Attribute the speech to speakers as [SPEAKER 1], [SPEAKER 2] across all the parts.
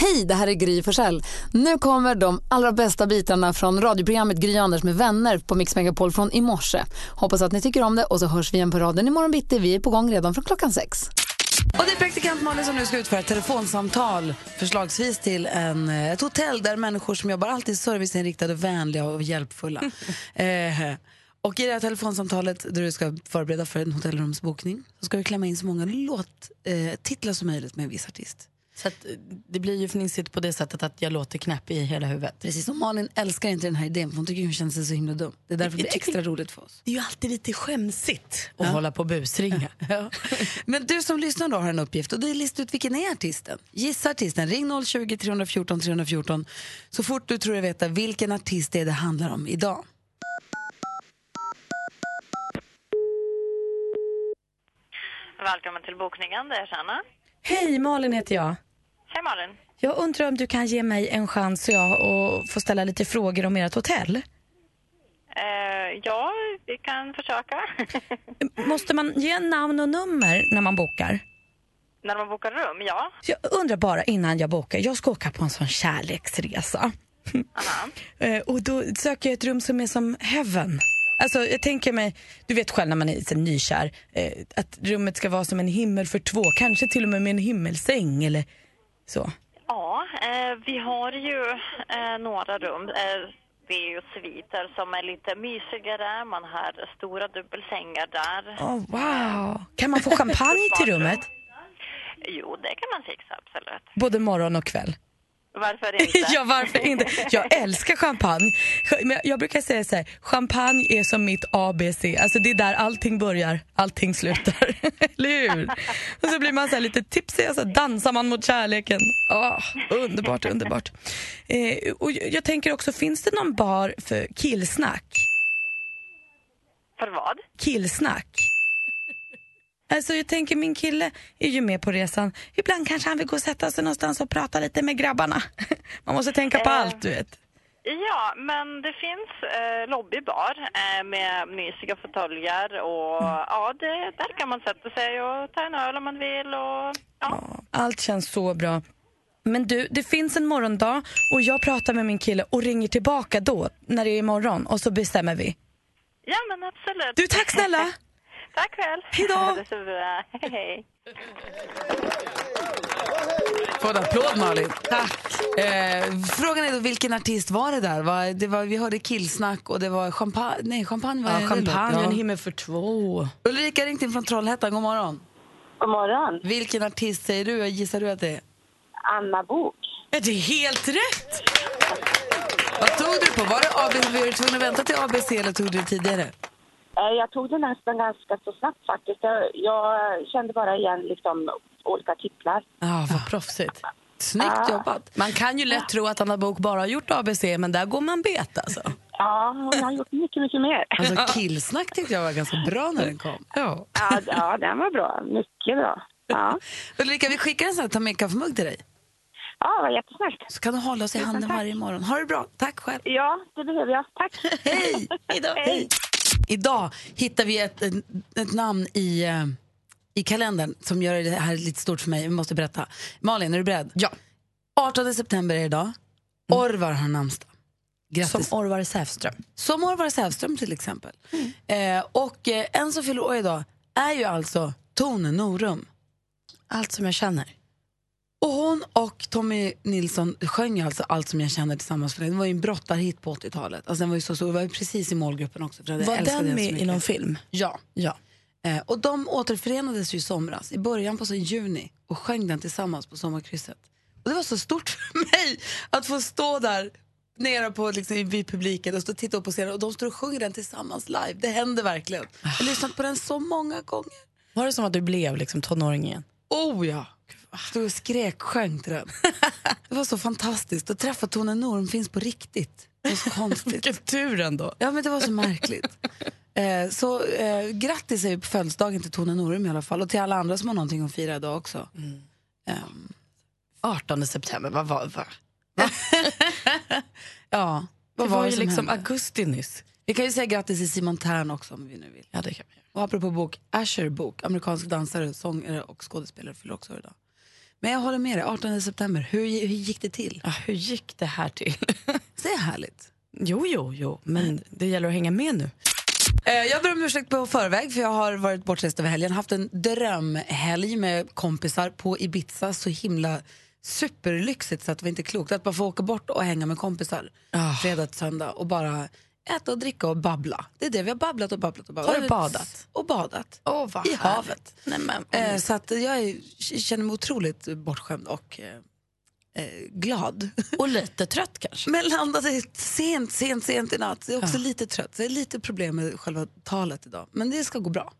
[SPEAKER 1] Hej, det här är Gry Forssell. Nu kommer de allra bästa bitarna från radioprogrammet Gry Anders med vänner på Mix Megapol från i morse. Hoppas att ni tycker om det och så hörs vi igen på raden imorgon bitti. Vi är på gång redan från klockan sex.
[SPEAKER 2] Och det är praktikant Malin som nu ska utföra ett telefonsamtal, förslagsvis till en, eh, ett hotell där människor som jobbar alltid är serviceinriktade, vänliga och hjälpfulla. eh, och i det här telefonsamtalet där du ska förbereda för en hotellrumsbokning så ska du klämma in så många låttitlar eh, titlar som möjligt med en viss artist.
[SPEAKER 3] Så att, eh, det blir ju fnissigt på det sättet att jag låter knäpp i hela huvudet.
[SPEAKER 2] Precis, och Malin älskar inte den här idén för hon tycker hon känner sig så himla dum. Det är därför det
[SPEAKER 3] Jag
[SPEAKER 2] blir
[SPEAKER 3] tycker-
[SPEAKER 2] extra roligt för oss.
[SPEAKER 3] Det är ju alltid lite skämsigt att hålla på och busringa.
[SPEAKER 2] Ja. Men du som lyssnar då har en uppgift och det är att lista ut vilken är artisten. Gissa artisten, ring 020-314 314 så fort du tror dig veta vilken artist det är det handlar om idag.
[SPEAKER 4] Välkommen till bokningen, det är Sanna.
[SPEAKER 5] Hej, Malin heter jag.
[SPEAKER 4] Hej Malin.
[SPEAKER 5] Jag undrar om du kan ge mig en chans så jag och får ställa lite frågor om ert hotell.
[SPEAKER 4] Eh, ja, vi kan försöka.
[SPEAKER 5] Måste man ge namn och nummer när man bokar?
[SPEAKER 4] När man bokar rum, ja.
[SPEAKER 5] Jag undrar bara innan jag bokar. Jag ska åka på en sån kärleksresa. Eh, och då söker jag ett rum som är som heaven. Alltså jag tänker mig, du vet själv när man är så nykär, eh, att rummet ska vara som en himmel för två. Kanske till och med med en himmelsäng eller så.
[SPEAKER 4] Ja, eh, vi har ju eh, några rum. Eh, det är ju sviter som är lite mysigare. Man har stora dubbelsängar där.
[SPEAKER 5] Oh, wow! Kan man få champagne till rummet?
[SPEAKER 4] Jo, det kan man fixa, absolut.
[SPEAKER 5] Både morgon och kväll.
[SPEAKER 4] Varför inte?
[SPEAKER 5] ja, varför inte? Jag älskar champagne. Ch- Men jag- jag brukar säga så här, champagne är som mitt ABC. Alltså det är där allting börjar, allting slutar. Eller hur? Och så blir man så här lite tipsig och så dansar man mot kärleken. Ah, underbart, underbart. Eh, och jag jag tänker också, finns det någon bar för killsnack?
[SPEAKER 4] För vad?
[SPEAKER 5] Killsnack? Alltså jag tänker min kille är ju med på resan. Ibland kanske han vill gå och sätta sig någonstans och prata lite med grabbarna. Man måste tänka på
[SPEAKER 4] Eh,
[SPEAKER 5] allt du vet.
[SPEAKER 4] Ja, men det finns eh, lobbybar eh, med mysiga fåtöljer och
[SPEAKER 5] Mm.
[SPEAKER 4] ja, det, där kan man sätta sig och ta en öl om man vill och ja.
[SPEAKER 5] Allt känns så bra. Men du, det finns en morgondag och jag pratar med min kille och ringer tillbaka då, när det är imorgon, och så bestämmer vi.
[SPEAKER 4] Ja, men absolut.
[SPEAKER 5] Du, tack snälla!
[SPEAKER 4] Tack själv.
[SPEAKER 5] Hej då.
[SPEAKER 4] Ha det så bra. Hej, hej.
[SPEAKER 2] Få en applåd Malin. Tack. Eh, frågan är då vilken artist var det där? Var, det var, vi hörde killsnack och det var champagne. Nej, champagne var
[SPEAKER 5] Ja,
[SPEAKER 2] det
[SPEAKER 5] champagne, en
[SPEAKER 2] låt, ja.
[SPEAKER 5] himmel för två.
[SPEAKER 2] Ulrika ringt in från Trollhättan, god morgon.
[SPEAKER 6] God morgon.
[SPEAKER 2] Vilken artist säger du? Gissar du att det är?
[SPEAKER 6] Anna Bok.
[SPEAKER 5] Är det är helt rätt!
[SPEAKER 2] Vad tog du på? Var det ABC? Var du tvungen att vänta till ABC eller tog du det tidigare?
[SPEAKER 6] Eh, Jag tog det nästan ganska så snabbt faktiskt. Jag, jag kände bara igen liksom olika titlar.
[SPEAKER 2] Ja, vad
[SPEAKER 5] Proffsigt. Ah.
[SPEAKER 2] snyggt jobbat.
[SPEAKER 3] Man kan ju lätt tro att Anna Bok bara har gjort ABC, men där går man bet alltså.
[SPEAKER 6] Ja, hon har gjort mycket, mycket mer.
[SPEAKER 2] Alltså killsnack tyckte jag var ganska bra när den kom.
[SPEAKER 3] Ja.
[SPEAKER 6] Ja, ja den var bra. Mycket bra. Ja,
[SPEAKER 2] Ulrika, vi skickar en sån här ta med kaffemugg till dig.
[SPEAKER 6] ja vad jättesnällt.
[SPEAKER 2] Så kan du hålla oss i handen varje morgon. Ha det bra. Tack själv.
[SPEAKER 6] Ja, det behöver jag. Tack.
[SPEAKER 2] Hej! Hejdå. Hej. Idag hittar vi ett, ett, ett namn i, eh, i kalendern som gör det här lite stort för mig. Vi måste berätta. Malin, är du beredd?
[SPEAKER 3] Ja. Mm.
[SPEAKER 2] 18 september är det idag. Orvar har namnsdag.
[SPEAKER 3] Som
[SPEAKER 2] Grattis. Som,
[SPEAKER 3] Orvar Säfström.
[SPEAKER 2] Orvar Sävström till exempel.
[SPEAKER 3] Mm.
[SPEAKER 2] Eh, och eh, en som fyller år idag är ju alltså Tone Norum.
[SPEAKER 3] Allt som jag känner.
[SPEAKER 2] Och hon och Tommy Nilsson sjöng alltså Allt som jag känner tillsammans för dig. Det var ju en brottarhit på 80-talet. Alltså den var ju så stor. Det var ju precis i målgruppen också. För jag
[SPEAKER 3] Var
[SPEAKER 2] älskade
[SPEAKER 3] den
[SPEAKER 2] så
[SPEAKER 3] med i
[SPEAKER 2] mycket.
[SPEAKER 3] någon film?
[SPEAKER 2] Ja.
[SPEAKER 3] Ja.
[SPEAKER 2] Eh, och de återförenades ju i somras, i början på så juni och sjöng den tillsammans på sommarkrysset. Och det var så stort för mig att få stå där nere på, liksom, vid publiken och stå och titta upp på scenen och de står och sjunger den tillsammans live. Det händer verkligen. Jag har lyssnat på den så många gånger.
[SPEAKER 3] Var det som att du blev liksom tonåring igen?
[SPEAKER 2] Oh ja! Stod och skrek, sjöng till den. Det var så fantastiskt. Att träffa Tone Norm finns på riktigt. Det var så konstigt.
[SPEAKER 3] Vilken tur ändå.
[SPEAKER 2] Ja, men det var så märkligt. Eh, så eh, grattis säger vi på födelsedagen till Tone Norum i alla fall och till alla andra som har någonting att fira idag också.
[SPEAKER 5] Mm.
[SPEAKER 2] Ehm,
[SPEAKER 5] 18 september, vad var vad?
[SPEAKER 2] ja,
[SPEAKER 5] Det
[SPEAKER 2] vad
[SPEAKER 5] var
[SPEAKER 2] det
[SPEAKER 5] ju
[SPEAKER 2] som
[SPEAKER 5] liksom
[SPEAKER 2] hände?
[SPEAKER 5] augusti nyss.
[SPEAKER 2] Vi kan ju säga grattis till Simon Tern också om vi nu vill.
[SPEAKER 5] Ja, det kan vi göra.
[SPEAKER 2] Och apropå bok, Asher Book, amerikansk dansare, sångare och skådespelare fyller också år idag. Men jag håller med dig, 18 september, hur, gi- hur gick det till?
[SPEAKER 5] Ja, hur gick det här till?
[SPEAKER 2] Det är härligt.
[SPEAKER 5] jo, jo, jo, men det gäller att hänga med nu.
[SPEAKER 2] Eh, Jag ber om ursäkt på förväg för jag har varit bortrest över helgen. Haft en drömhelg med kompisar på Ibiza. Så himla superlyxigt så att det var inte klokt. Att bara få åka bort och hänga med kompisar
[SPEAKER 5] Ah.
[SPEAKER 2] fredag till söndag och bara äta och dricka och babbla. Det är det vi har babblat och babblat och babblat.
[SPEAKER 5] Har du badat?
[SPEAKER 2] Och badat.
[SPEAKER 5] Åh, vad
[SPEAKER 2] I
[SPEAKER 5] härligt.
[SPEAKER 2] havet.
[SPEAKER 5] Nej, men,
[SPEAKER 2] Eh, Så att jag är, känner mig otroligt bortskämd och eh, eh, glad.
[SPEAKER 5] och lite trött kanske.
[SPEAKER 2] Men landade sent, sent, sent i natt. Jag är också lite trött. Så jag har lite problem med själva talet idag. Men det ska gå bra.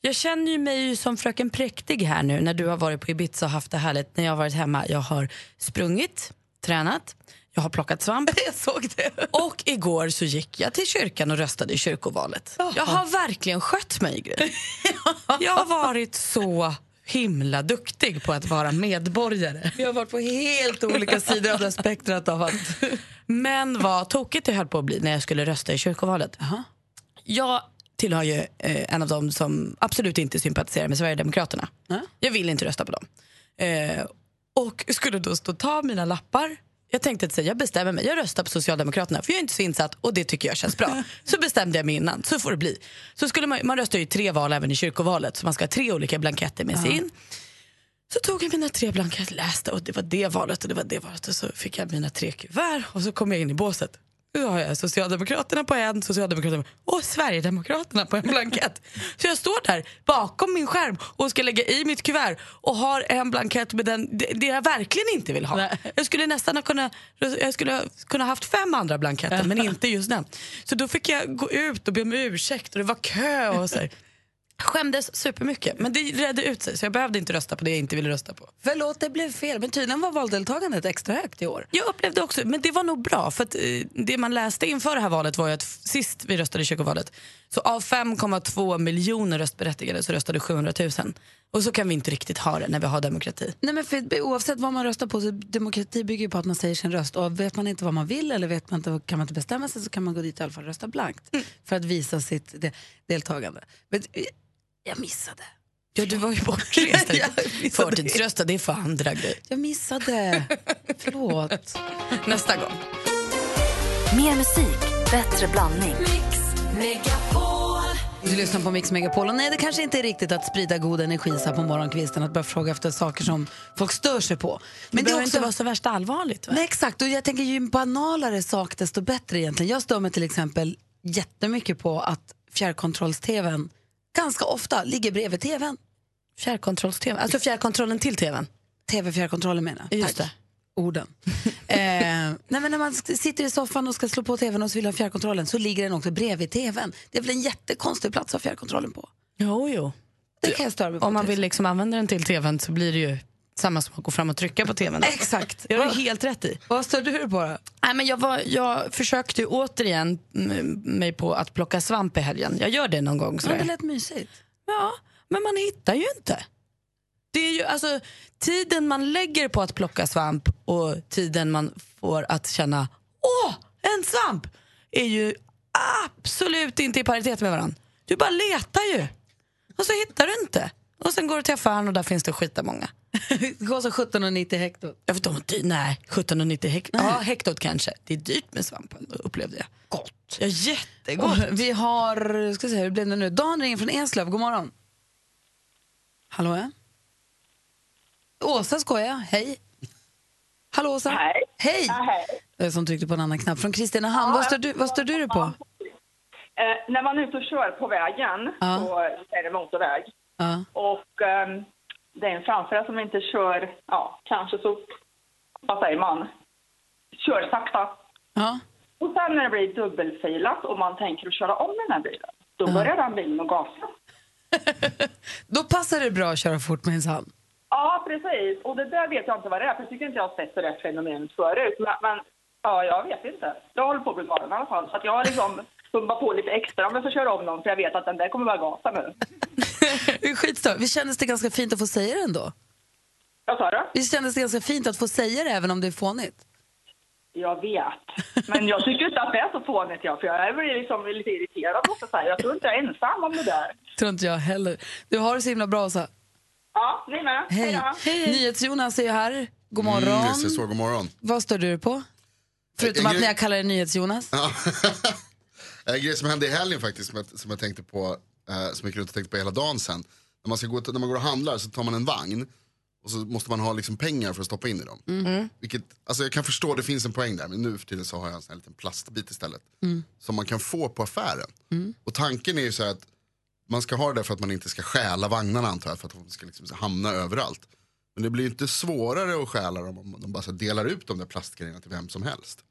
[SPEAKER 5] Jag känner ju mig ju som fröken Präktig här nu när du har varit på Ibiza och haft det härligt. När jag har varit hemma, jag har sprungit, tränat, jag har plockat svamp. Jag såg det. Och igår så gick jag till kyrkan och röstade i kyrkovalet. Jag har verkligen skött mig, Gry. Jag har varit så himla duktig på att vara medborgare.
[SPEAKER 2] Vi har varit på helt olika sidor av det här spektrat av att...
[SPEAKER 5] Men vad tokigt det höll på att bli när jag skulle rösta i kyrkovalet. Jag tillhör ju eh, en av dem som absolut inte sympatiserar med Sverigedemokraterna. Jag vill inte rösta på dem. Eh, och skulle då stå och ta mina lappar. Jag tänkte att så här, jag bestämmer mig, jag röstar på Socialdemokraterna för jag är inte så insatt och det tycker jag känns bra. Så bestämde jag mig innan, så får det bli. Så skulle man, man röstar ju i tre val även i kyrkovalet så man ska ha tre olika blanketter med sig in. Så tog jag mina tre blanketter, läste och det var det valet och det var det valet och så fick jag mina tre kuvert och så kom jag in i båset. Nu har jag Socialdemokraterna på en, Socialdemokraterna och Sverigedemokraterna på en blankett. Så jag står där bakom min skärm och ska lägga i mitt kuvert och har en blankett med den, det, det jag verkligen inte vill ha. Jag skulle nästan ha kunnat, jag skulle ha kunnat haft fem andra blanketter men inte just den. Så då fick jag gå ut och be om ursäkt och det var kö och så här. Skämdes supermycket, men det redde ut sig så jag behövde inte rösta på det jag inte ville rösta på.
[SPEAKER 2] Förlåt, det blev fel. Men tydligen var valdeltagandet extra högt i år.
[SPEAKER 5] Jag upplevde också, men det var nog bra för att eh, det man läste inför det här valet var ju att f- sist vi röstade i kyrkovalet så av 5,2 miljoner röstberättigade så röstade 700 000. Och så kan vi inte riktigt ha det när vi har demokrati.
[SPEAKER 2] Nej, men för, oavsett vad man röstar på, så demokrati bygger ju på att man säger sin röst. Och vet man inte vad man vill eller vet man inte, kan man inte bestämma sig så kan man gå dit i alla fall och rösta blankt. För att visa sitt de, deltagande. Men eh, jag missade.
[SPEAKER 5] Ja, du var ju bortrest.
[SPEAKER 2] Ja, visst.
[SPEAKER 5] Förtidsrösta, det är för andra grejer.
[SPEAKER 2] Jag missade. Förlåt.
[SPEAKER 5] Nästa gång.
[SPEAKER 7] Mer musik, bättre blandning.
[SPEAKER 2] Du lyssnar på Mix Megapol. Och nej, det kanske inte är riktigt att sprida god energi så här på morgonkvisten, att börja fråga efter saker som folk stör sig på. Men det, är
[SPEAKER 5] behöver
[SPEAKER 2] också...
[SPEAKER 5] inte vara så värst allvarligt. Va?
[SPEAKER 2] Nej, exakt. Och jag tänker ju banalare sak desto bättre egentligen. Jag stör mig till exempel jättemycket på att fjärrkontrolls-tvn ganska ofta ligger bredvid tvn.
[SPEAKER 5] Fjärrkontrolls-tv, alltså fjärrkontrollen till tvn.
[SPEAKER 2] Tv-fjärrkontrollen menar jag.
[SPEAKER 5] Just
[SPEAKER 2] Tack. Orden. eh, nej, men när man sk- sitter i soffan och ska slå på tvn och så vill ha fjärrkontrollen så ligger den också bredvid tvn. Det är väl en jättekonstig plats att ha fjärrkontrollen på.
[SPEAKER 5] Jo, jo.
[SPEAKER 2] Det kan jag störa mig på.
[SPEAKER 5] Om man
[SPEAKER 2] till
[SPEAKER 5] vill liksom använda den till tvn så blir det ju samma som att gå fram och trycka på tvn.
[SPEAKER 2] Exakt.
[SPEAKER 5] Det har du helt rätt i.
[SPEAKER 2] Vad stör du dig på då?
[SPEAKER 5] Nej, men jag, var, jag försökte ju återigen mm, mig på att plocka svamp i helgen. Jag gör det någon gång.
[SPEAKER 2] Ja, Det
[SPEAKER 5] Sådär.
[SPEAKER 2] lät mysigt.
[SPEAKER 5] Ja, men man hittar ju inte. Det är ju, alltså, tiden man lägger på att plocka svamp och tiden man får att känna åh, en svamp är ju absolut inte i paritet med varandra. Du bara letar ju och så hittar du inte. Och sen går du till affären och där finns det skita många.
[SPEAKER 2] Det kostar 17,90 hektot.
[SPEAKER 5] Jag vet inte, om- nej, 1790 hekt ja, hektot kanske. Det är dyrt med svamp ändå, upplevde jag. Gott. Ja, jättegott.
[SPEAKER 2] Och vi har, ska se hur blev det nu? Dan ringer från Eslöv, god morgon. Hallå ja. Åsa skojar jag, hej. Hallå Åsa.
[SPEAKER 8] Hej.
[SPEAKER 2] Hej.
[SPEAKER 8] Ja, hej.
[SPEAKER 2] Eh, Som tryckte på en annan knapp. Från Kristinehamn, vad, stör du, vad stör du dig på?
[SPEAKER 8] Eh, när man är ute och kör på vägen,
[SPEAKER 2] Ja.
[SPEAKER 8] så är det motorväg.
[SPEAKER 2] Ja.
[SPEAKER 8] Och ehm, det är en framför som inte kör, ja, kanske så, vad säger man, kör sakta.
[SPEAKER 2] Ja.
[SPEAKER 8] Och sen när det blir dubbelfilat och man tänker att köra om den här bilen, då börjar den bilen att gasa.
[SPEAKER 2] Då passar det bra att köra fort minsann.
[SPEAKER 8] Ja, precis. Och det där vet jag inte vad det är, för jag tycker inte jag har sett det där fenomenet förut. Men, men ja, jag vet inte. Jag håller på att bli galen i alla fall. Så att jag har liksom pumpa på lite extra om jag får köra om någon för jag vet att den där kommer bara gasa nu.
[SPEAKER 2] Det är Skitstör. Vi kändes det ganska fint att få säga det ändå?
[SPEAKER 8] Vad sa du?
[SPEAKER 2] Vi kändes det ganska fint att få säga det även om det är fånigt?
[SPEAKER 8] Jag vet. Men jag tycker inte att det är så fånigt jag, för jag blir liksom lite irriterad måste jag säga. Jag tror inte jag är ensam om det där.
[SPEAKER 2] Tror inte jag heller. Du har det så himla bra, Åsa.
[SPEAKER 8] Ja, ni med.
[SPEAKER 2] Hej.
[SPEAKER 8] då.
[SPEAKER 2] NyhetsJonas är ju här. God morgon.
[SPEAKER 9] Mm, visst är så, god morgon.
[SPEAKER 2] Vad står du på? Förutom
[SPEAKER 9] En
[SPEAKER 2] att
[SPEAKER 9] grej-
[SPEAKER 2] när jag kallar dig NyhetsJonas.
[SPEAKER 9] Ja. en grej Äh, som hände i helgen faktiskt, som jag, som jag tänkte på, eh, som jag gick runt och tänkte på hela dagen sen. När man, ska gå, till- när man går och handlar så tar man en vagn och så måste man ha liksom pengar för att stoppa in i dem. Vilket, alltså jag kan förstå, det finns en poäng där, men nu för tiden så har jag en sån här liten plastbit istället. Som man kan få på affären. Och tanken är ju så här att man ska ha det där för att man inte ska stjäla vagnarna antar jag, för att de ska liksom hamna överallt. Men det blir ju inte svårare att stjäla dem om de bara så här delar ut de där plastgrejerna till vem som helst.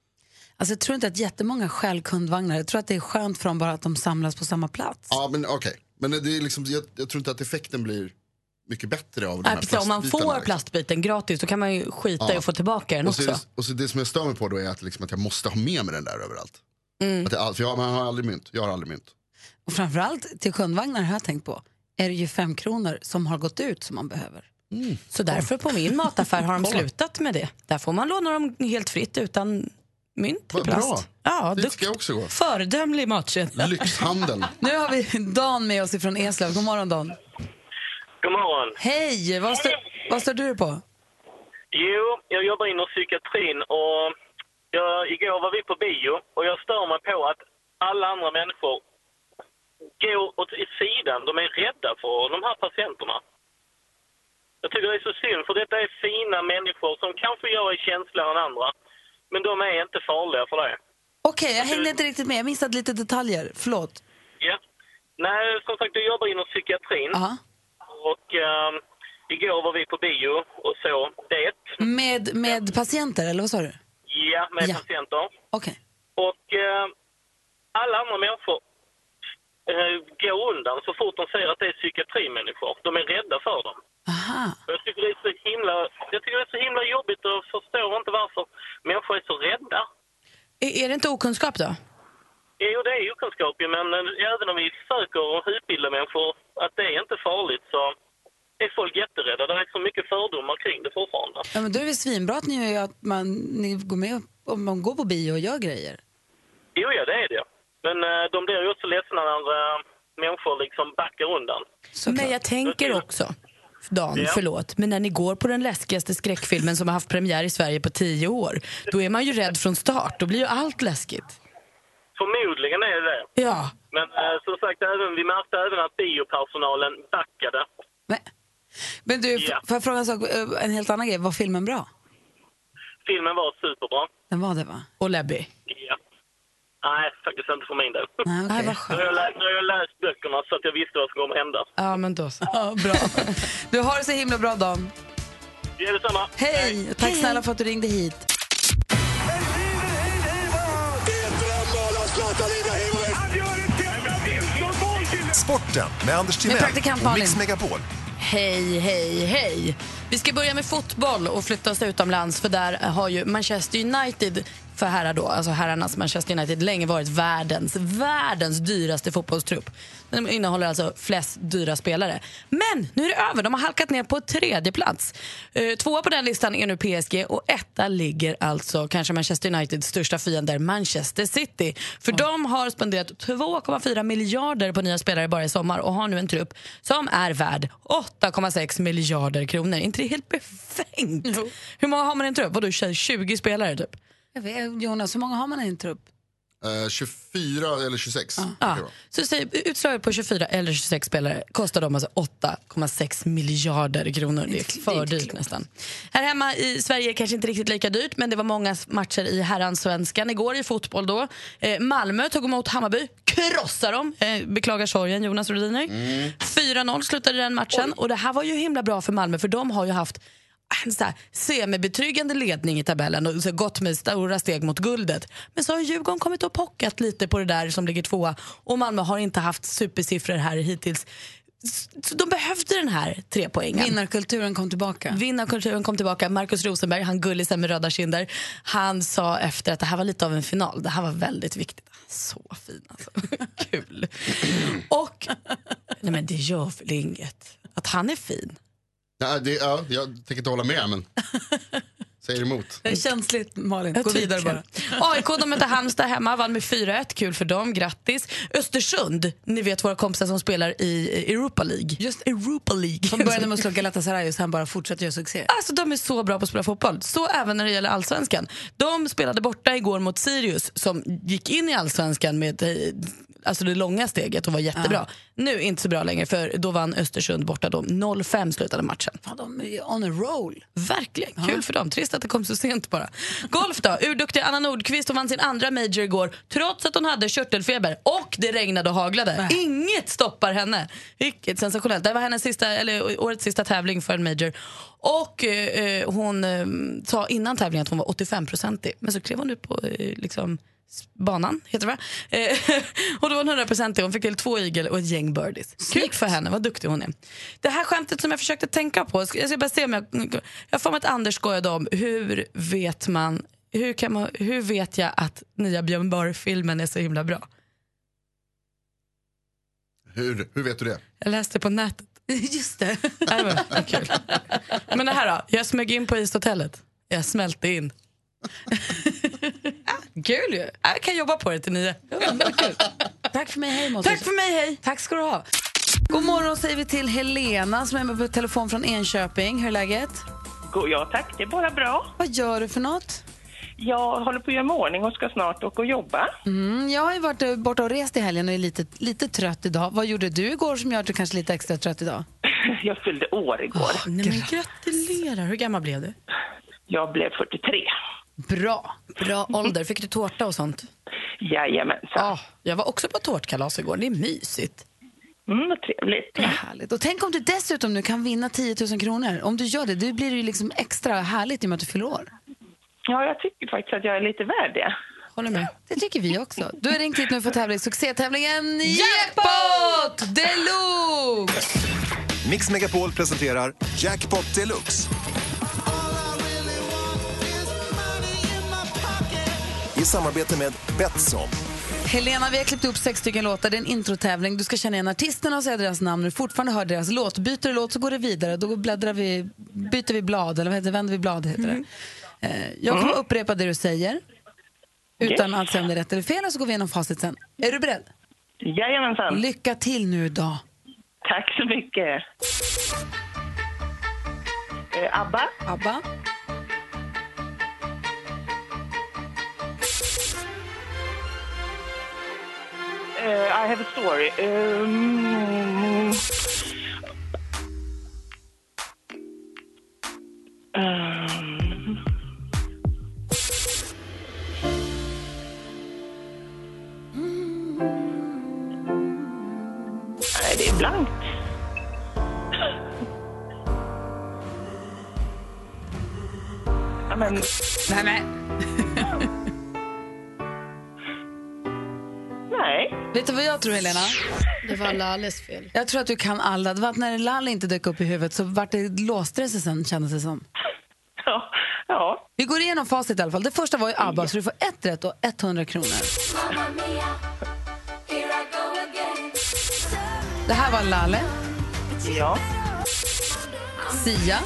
[SPEAKER 2] Alltså, jag tror inte att jättemånga stjäl kundvagnar. Jag tror att det är skönt för dem bara att de samlas på samma plats.
[SPEAKER 9] Ja, men okej. Men det är liksom, jag, jag tror inte att effekten blir mycket bättre av de
[SPEAKER 5] Nej,
[SPEAKER 9] här
[SPEAKER 5] Äh,
[SPEAKER 2] Alltså,
[SPEAKER 9] liksom.
[SPEAKER 5] precis, om man får plastbiten gratis då kan man ju skita i att få tillbaka den
[SPEAKER 9] och så, är
[SPEAKER 5] också.
[SPEAKER 9] det- och så det som jag stör mig på då är att, liksom, att jag måste ha med mig den där överallt.
[SPEAKER 5] Mm.
[SPEAKER 9] Att jag, all- för jag, man har aldrig mynt. Jag har aldrig mynt.
[SPEAKER 2] Och framförallt till kundvagnar har jag tänkt på, är det ju fem kronor som har gått ut som man behöver.
[SPEAKER 5] Så därför på min mataffär har de
[SPEAKER 2] Kolla.
[SPEAKER 5] slutat med det. Där får man låna dem helt fritt utan mynt
[SPEAKER 2] Vad
[SPEAKER 5] och plast.
[SPEAKER 2] bra.
[SPEAKER 5] Ja,
[SPEAKER 2] Dit
[SPEAKER 5] dukt.
[SPEAKER 2] ska jag också gå.
[SPEAKER 5] Föredömlig matkedja.
[SPEAKER 9] Lyxhandeln.
[SPEAKER 2] Nu har vi Dan med oss ifrån Eslöv. God morgon Dan.
[SPEAKER 4] God morgon.
[SPEAKER 2] Hej! Vad, står- vad står du på?
[SPEAKER 4] Jo, jag jobbar inom psykiatrin och jag, igår var vi på bio och jag stör mig på att alla andra människor går åt i sidan. De är rädda för de här patienterna. Jag tycker det är så synd, för detta är fina människor som kanske jag är känsligare än andra. Men de är inte farliga för det.
[SPEAKER 2] Okej, jag hängde inte riktigt med. Jag missade lite detaljer. Förlåt.
[SPEAKER 4] Ja. Nej, som sagt, jag jobbar inom psykiatrin. Och ehm, igår var vi på bio och så det.
[SPEAKER 2] Med, med patienter, eller vad sa du?
[SPEAKER 4] Ja, med
[SPEAKER 2] Ja.
[SPEAKER 4] patienter.
[SPEAKER 2] Okej.
[SPEAKER 4] Och eh, alla andra människor eh, går undan så fort de ser att det är psykiatrimänniskor. De är rädda för dem.
[SPEAKER 2] Aha.
[SPEAKER 4] Och Jag tycker, det är så himla, jag tycker det är så himla jobbigt och förstår inte varför människor är så rädda.
[SPEAKER 2] E,
[SPEAKER 5] Är, är det inte okunskap då?
[SPEAKER 4] Jo, det är ju kunskap ju, men eh, även om vi försöker utbilda människor att det är inte farligt så är folk jätterädda. Det är så mycket fördomar kring det fortfarande.
[SPEAKER 2] Ja, men då är det väl svinbra att ni, att man, ni går med om man går på bio och gör grejer.
[SPEAKER 4] Jo, ja, det är det. Men eh, de blir ju också ledsna när eh, människor liksom backar undan.
[SPEAKER 5] Men jag tänker också, Dan,
[SPEAKER 4] Ja.
[SPEAKER 5] förlåt, men när ni går på den läskigaste skräckfilmen som har haft premiär i Sverige på tio år, då är man ju rädd från start. Då blir ju allt läskigt.
[SPEAKER 4] Förmodligen är det det.
[SPEAKER 5] Ja.
[SPEAKER 4] Men eh, som sagt, även, vi märkte även att biopersonalen backade.
[SPEAKER 2] Men du, f- får jag fråga en, sak, eh, en helt annan grej? Var filmen bra?
[SPEAKER 4] Filmen var superbra.
[SPEAKER 2] Den var det, va?
[SPEAKER 5] Och läbbig.
[SPEAKER 4] Ja. Nej, faktiskt inte för min del.
[SPEAKER 2] Nej, okay.
[SPEAKER 4] nu, har jag läst, nu har jag läst böckerna så att jag visste vad som kommer hända.
[SPEAKER 5] Ja, men då så.
[SPEAKER 2] Ja, bra. Du har det så himla bra, Dan.
[SPEAKER 4] Det är detsamma.
[SPEAKER 2] Hej! Tack snälla för att du ringde hit.
[SPEAKER 10] Sporten med Anders
[SPEAKER 5] Med
[SPEAKER 10] Timell
[SPEAKER 5] praktikant
[SPEAKER 10] och
[SPEAKER 5] Malin.
[SPEAKER 10] Mix Megapol.
[SPEAKER 5] Hej, hej, hej. Vi ska börja med fotboll och flytta oss utomlands för där har ju Manchester United för herrar då, alltså herrarnas Manchester United länge varit världens, världens dyraste fotbollstrupp. Den innehåller alltså flest dyra spelare. Men nu är det över, de har halkat ner på tredje plats. Eh, Tvåa på den listan är nu PSG och etta ligger alltså kanske Manchester Uniteds största fiender Manchester City. För de har spenderat 2,4 miljarder på nya spelare bara i sommar och har nu en trupp som är värd 8,6 miljarder kronor. inte det helt befängt? Hur många har man i en trupp? Vadå, 20 spelare typ?
[SPEAKER 2] Jag vet, Jonas, hur många har man i en trupp?
[SPEAKER 9] Eh, 24 eller 26.
[SPEAKER 5] Ja. Så säg, utslaget på 24 eller 26 spelare kostar de alltså 8,6 miljarder kronor. Det är för dyrt nästan. Här hemma i Sverige är det kanske inte riktigt lika dyrt men det var många matcher i herransvenskan igår i fotboll då. Eh, Malmö tog emot Hammarby, krossar dem. Eh, beklagar sorgen Jonas Rhodiner. 4-0 slutade den matchen och det här var ju himla bra för Malmö för de har ju haft en så här semibetryggande ledning i tabellen och så gått med stora steg mot guldet. Men så har Djurgården kommit och pockat lite på det där som ligger tvåa och Malmö har inte haft supersiffror här hittills. så de behövde den här trepoängen.
[SPEAKER 2] Vinnarkulturen kom tillbaka.
[SPEAKER 5] Vinnarkulturen kom tillbaka. Markus Rosenberg, han gullisen med röda kinder, han sa efter att det här var lite av en final. Det här var väldigt viktigt. Så fin alltså. Kul. Och, nej men det gör väl inget att han är fin.
[SPEAKER 9] Ja, det, ja, jag tänker inte hålla med, men säger emot.
[SPEAKER 2] Det är känsligt, Malin. Gå vidare bara.
[SPEAKER 5] AIK de mötte Halmstad hemma, vann med 4-1. Kul för dem, grattis. Östersund, ni vet våra kompisar som spelar i Europa League. Just Europa League.
[SPEAKER 2] De började med att slå Galatasaray och sen bara fortsätter göra succé.
[SPEAKER 5] Alltså de är så bra på att spela fotboll. Så även när det gäller allsvenskan. De spelade borta igår mot Sirius som gick in i allsvenskan med eh, alltså det långa steget och var jättebra. Nu inte så bra längre för då vann Östersund borta. då. 0-5 slutade matchen.
[SPEAKER 2] de är on a roll.
[SPEAKER 5] Verkligen, kul för dem. Trist att det kom så sent bara. Golf då, urduktiga Anna Nordqvist hon vann sin andra major igår trots att hon hade körtelfeber och det regnade och haglade. Inget stoppar henne. Vilket sensationellt. Det var hennes sista, eller årets sista tävling för en major. Och eh, eh, hon eh, sa innan tävlingen att hon var 85-procentig men så klev hon ut på eh, liksom s- banan, heter det va? Eh, och då var hon 100% Hon fick till två igel och ett gäng birdies. Kul för henne, vad duktig hon är. Det här skämtet som jag försökte tänka på, jag ska bara se om jag... Jag får mig att Anders skojade om hur vet man, hur, kan man, hur vet jag att nya Björn Borg-filmen är så himla bra?
[SPEAKER 9] Hur, hur vet du det?
[SPEAKER 5] Jag läste på nätet.
[SPEAKER 2] Just det.
[SPEAKER 5] det var, vad kul. Men det här då, jag smög in på ishotellet. Jag smälte in. Kul ju. Jag kan jobba på det till nio.
[SPEAKER 2] Tack för mig, hej Mårten. Tack
[SPEAKER 5] för mig, hej.
[SPEAKER 2] Tack ska du ha. God morgon säger vi till Helena som är med på telefon från Enköping. Hur är läget?
[SPEAKER 11] Go- Ja tack, det är bara bra.
[SPEAKER 2] Vad gör du för något?
[SPEAKER 11] Jag håller på att göra mig i ordning och ska snart åka och jobba.
[SPEAKER 2] Mm, jag har ju varit eh, borta och rest i helgen och är lite, lite trött idag. Vad gjorde du igår som gör att du kanske är lite extra trött idag?
[SPEAKER 11] Jag fyllde år igår.
[SPEAKER 5] nej men gratulerar. Hur gammal blev du?
[SPEAKER 11] Jag blev 43.
[SPEAKER 2] Bra.
[SPEAKER 5] Bra ålder. Fick du tårta och sånt?
[SPEAKER 11] Jajamensan.
[SPEAKER 5] Ja, jag var också på tårtkalas igår. Det är mysigt.
[SPEAKER 11] Mm, vad trevligt.
[SPEAKER 2] Härligt. Och tänk om du dessutom nu kan vinna 10 000 kronor. Om du gör det, då blir det ju liksom extra härligt i och med att du fyller år.
[SPEAKER 11] Ja, jag tycker faktiskt att jag är lite värd det.
[SPEAKER 5] Håller med.
[SPEAKER 2] Det tycker vi också. Du har ringt hit nu för att tävla i succétävlingen Jackpot deluxe!
[SPEAKER 10] Mix Megapol presenterar Jackpot Deluxe. I samarbete med Betsson.
[SPEAKER 2] Helena, vi har klippt upp sex stycken låtar. Det är en introtävling. Du ska känna igen artisterna och säga deras namn. När du fortfarande hör deras låt, byter du låt så går det vidare. Då bläddrar vi, byter vi blad, eller vad heter det? Vänder vi blad heter
[SPEAKER 5] Mm.
[SPEAKER 2] det. Eh, Jag kommer
[SPEAKER 11] Mm.
[SPEAKER 2] upprepa det du säger utan att säga om det är rätt eller fel och så går vi igenom facit sen. Är du beredd?
[SPEAKER 11] Jajamensan.
[SPEAKER 2] Lycka till nu då.
[SPEAKER 11] Tack så mycket. Eh, Abba.
[SPEAKER 2] Abba.
[SPEAKER 11] Eh, I have a story. Um, um, Nej, det är blankt. Ja, men...
[SPEAKER 2] Nej, nej.
[SPEAKER 11] Nej.
[SPEAKER 2] Vet du vad jag tror, Helena?
[SPEAKER 5] Det var Lales fel.
[SPEAKER 2] Jag tror att du kan alla. Det var att när Lalle inte dök upp i huvudet så vart det låste det sig sen, kändes det som.
[SPEAKER 11] Ja. ja.
[SPEAKER 2] Vi går igenom facit i alla fall. Det första var ju ABBA, så du får ett rätt och 100 kronor. Det här var Lalle,
[SPEAKER 11] Ja.
[SPEAKER 2] Sia,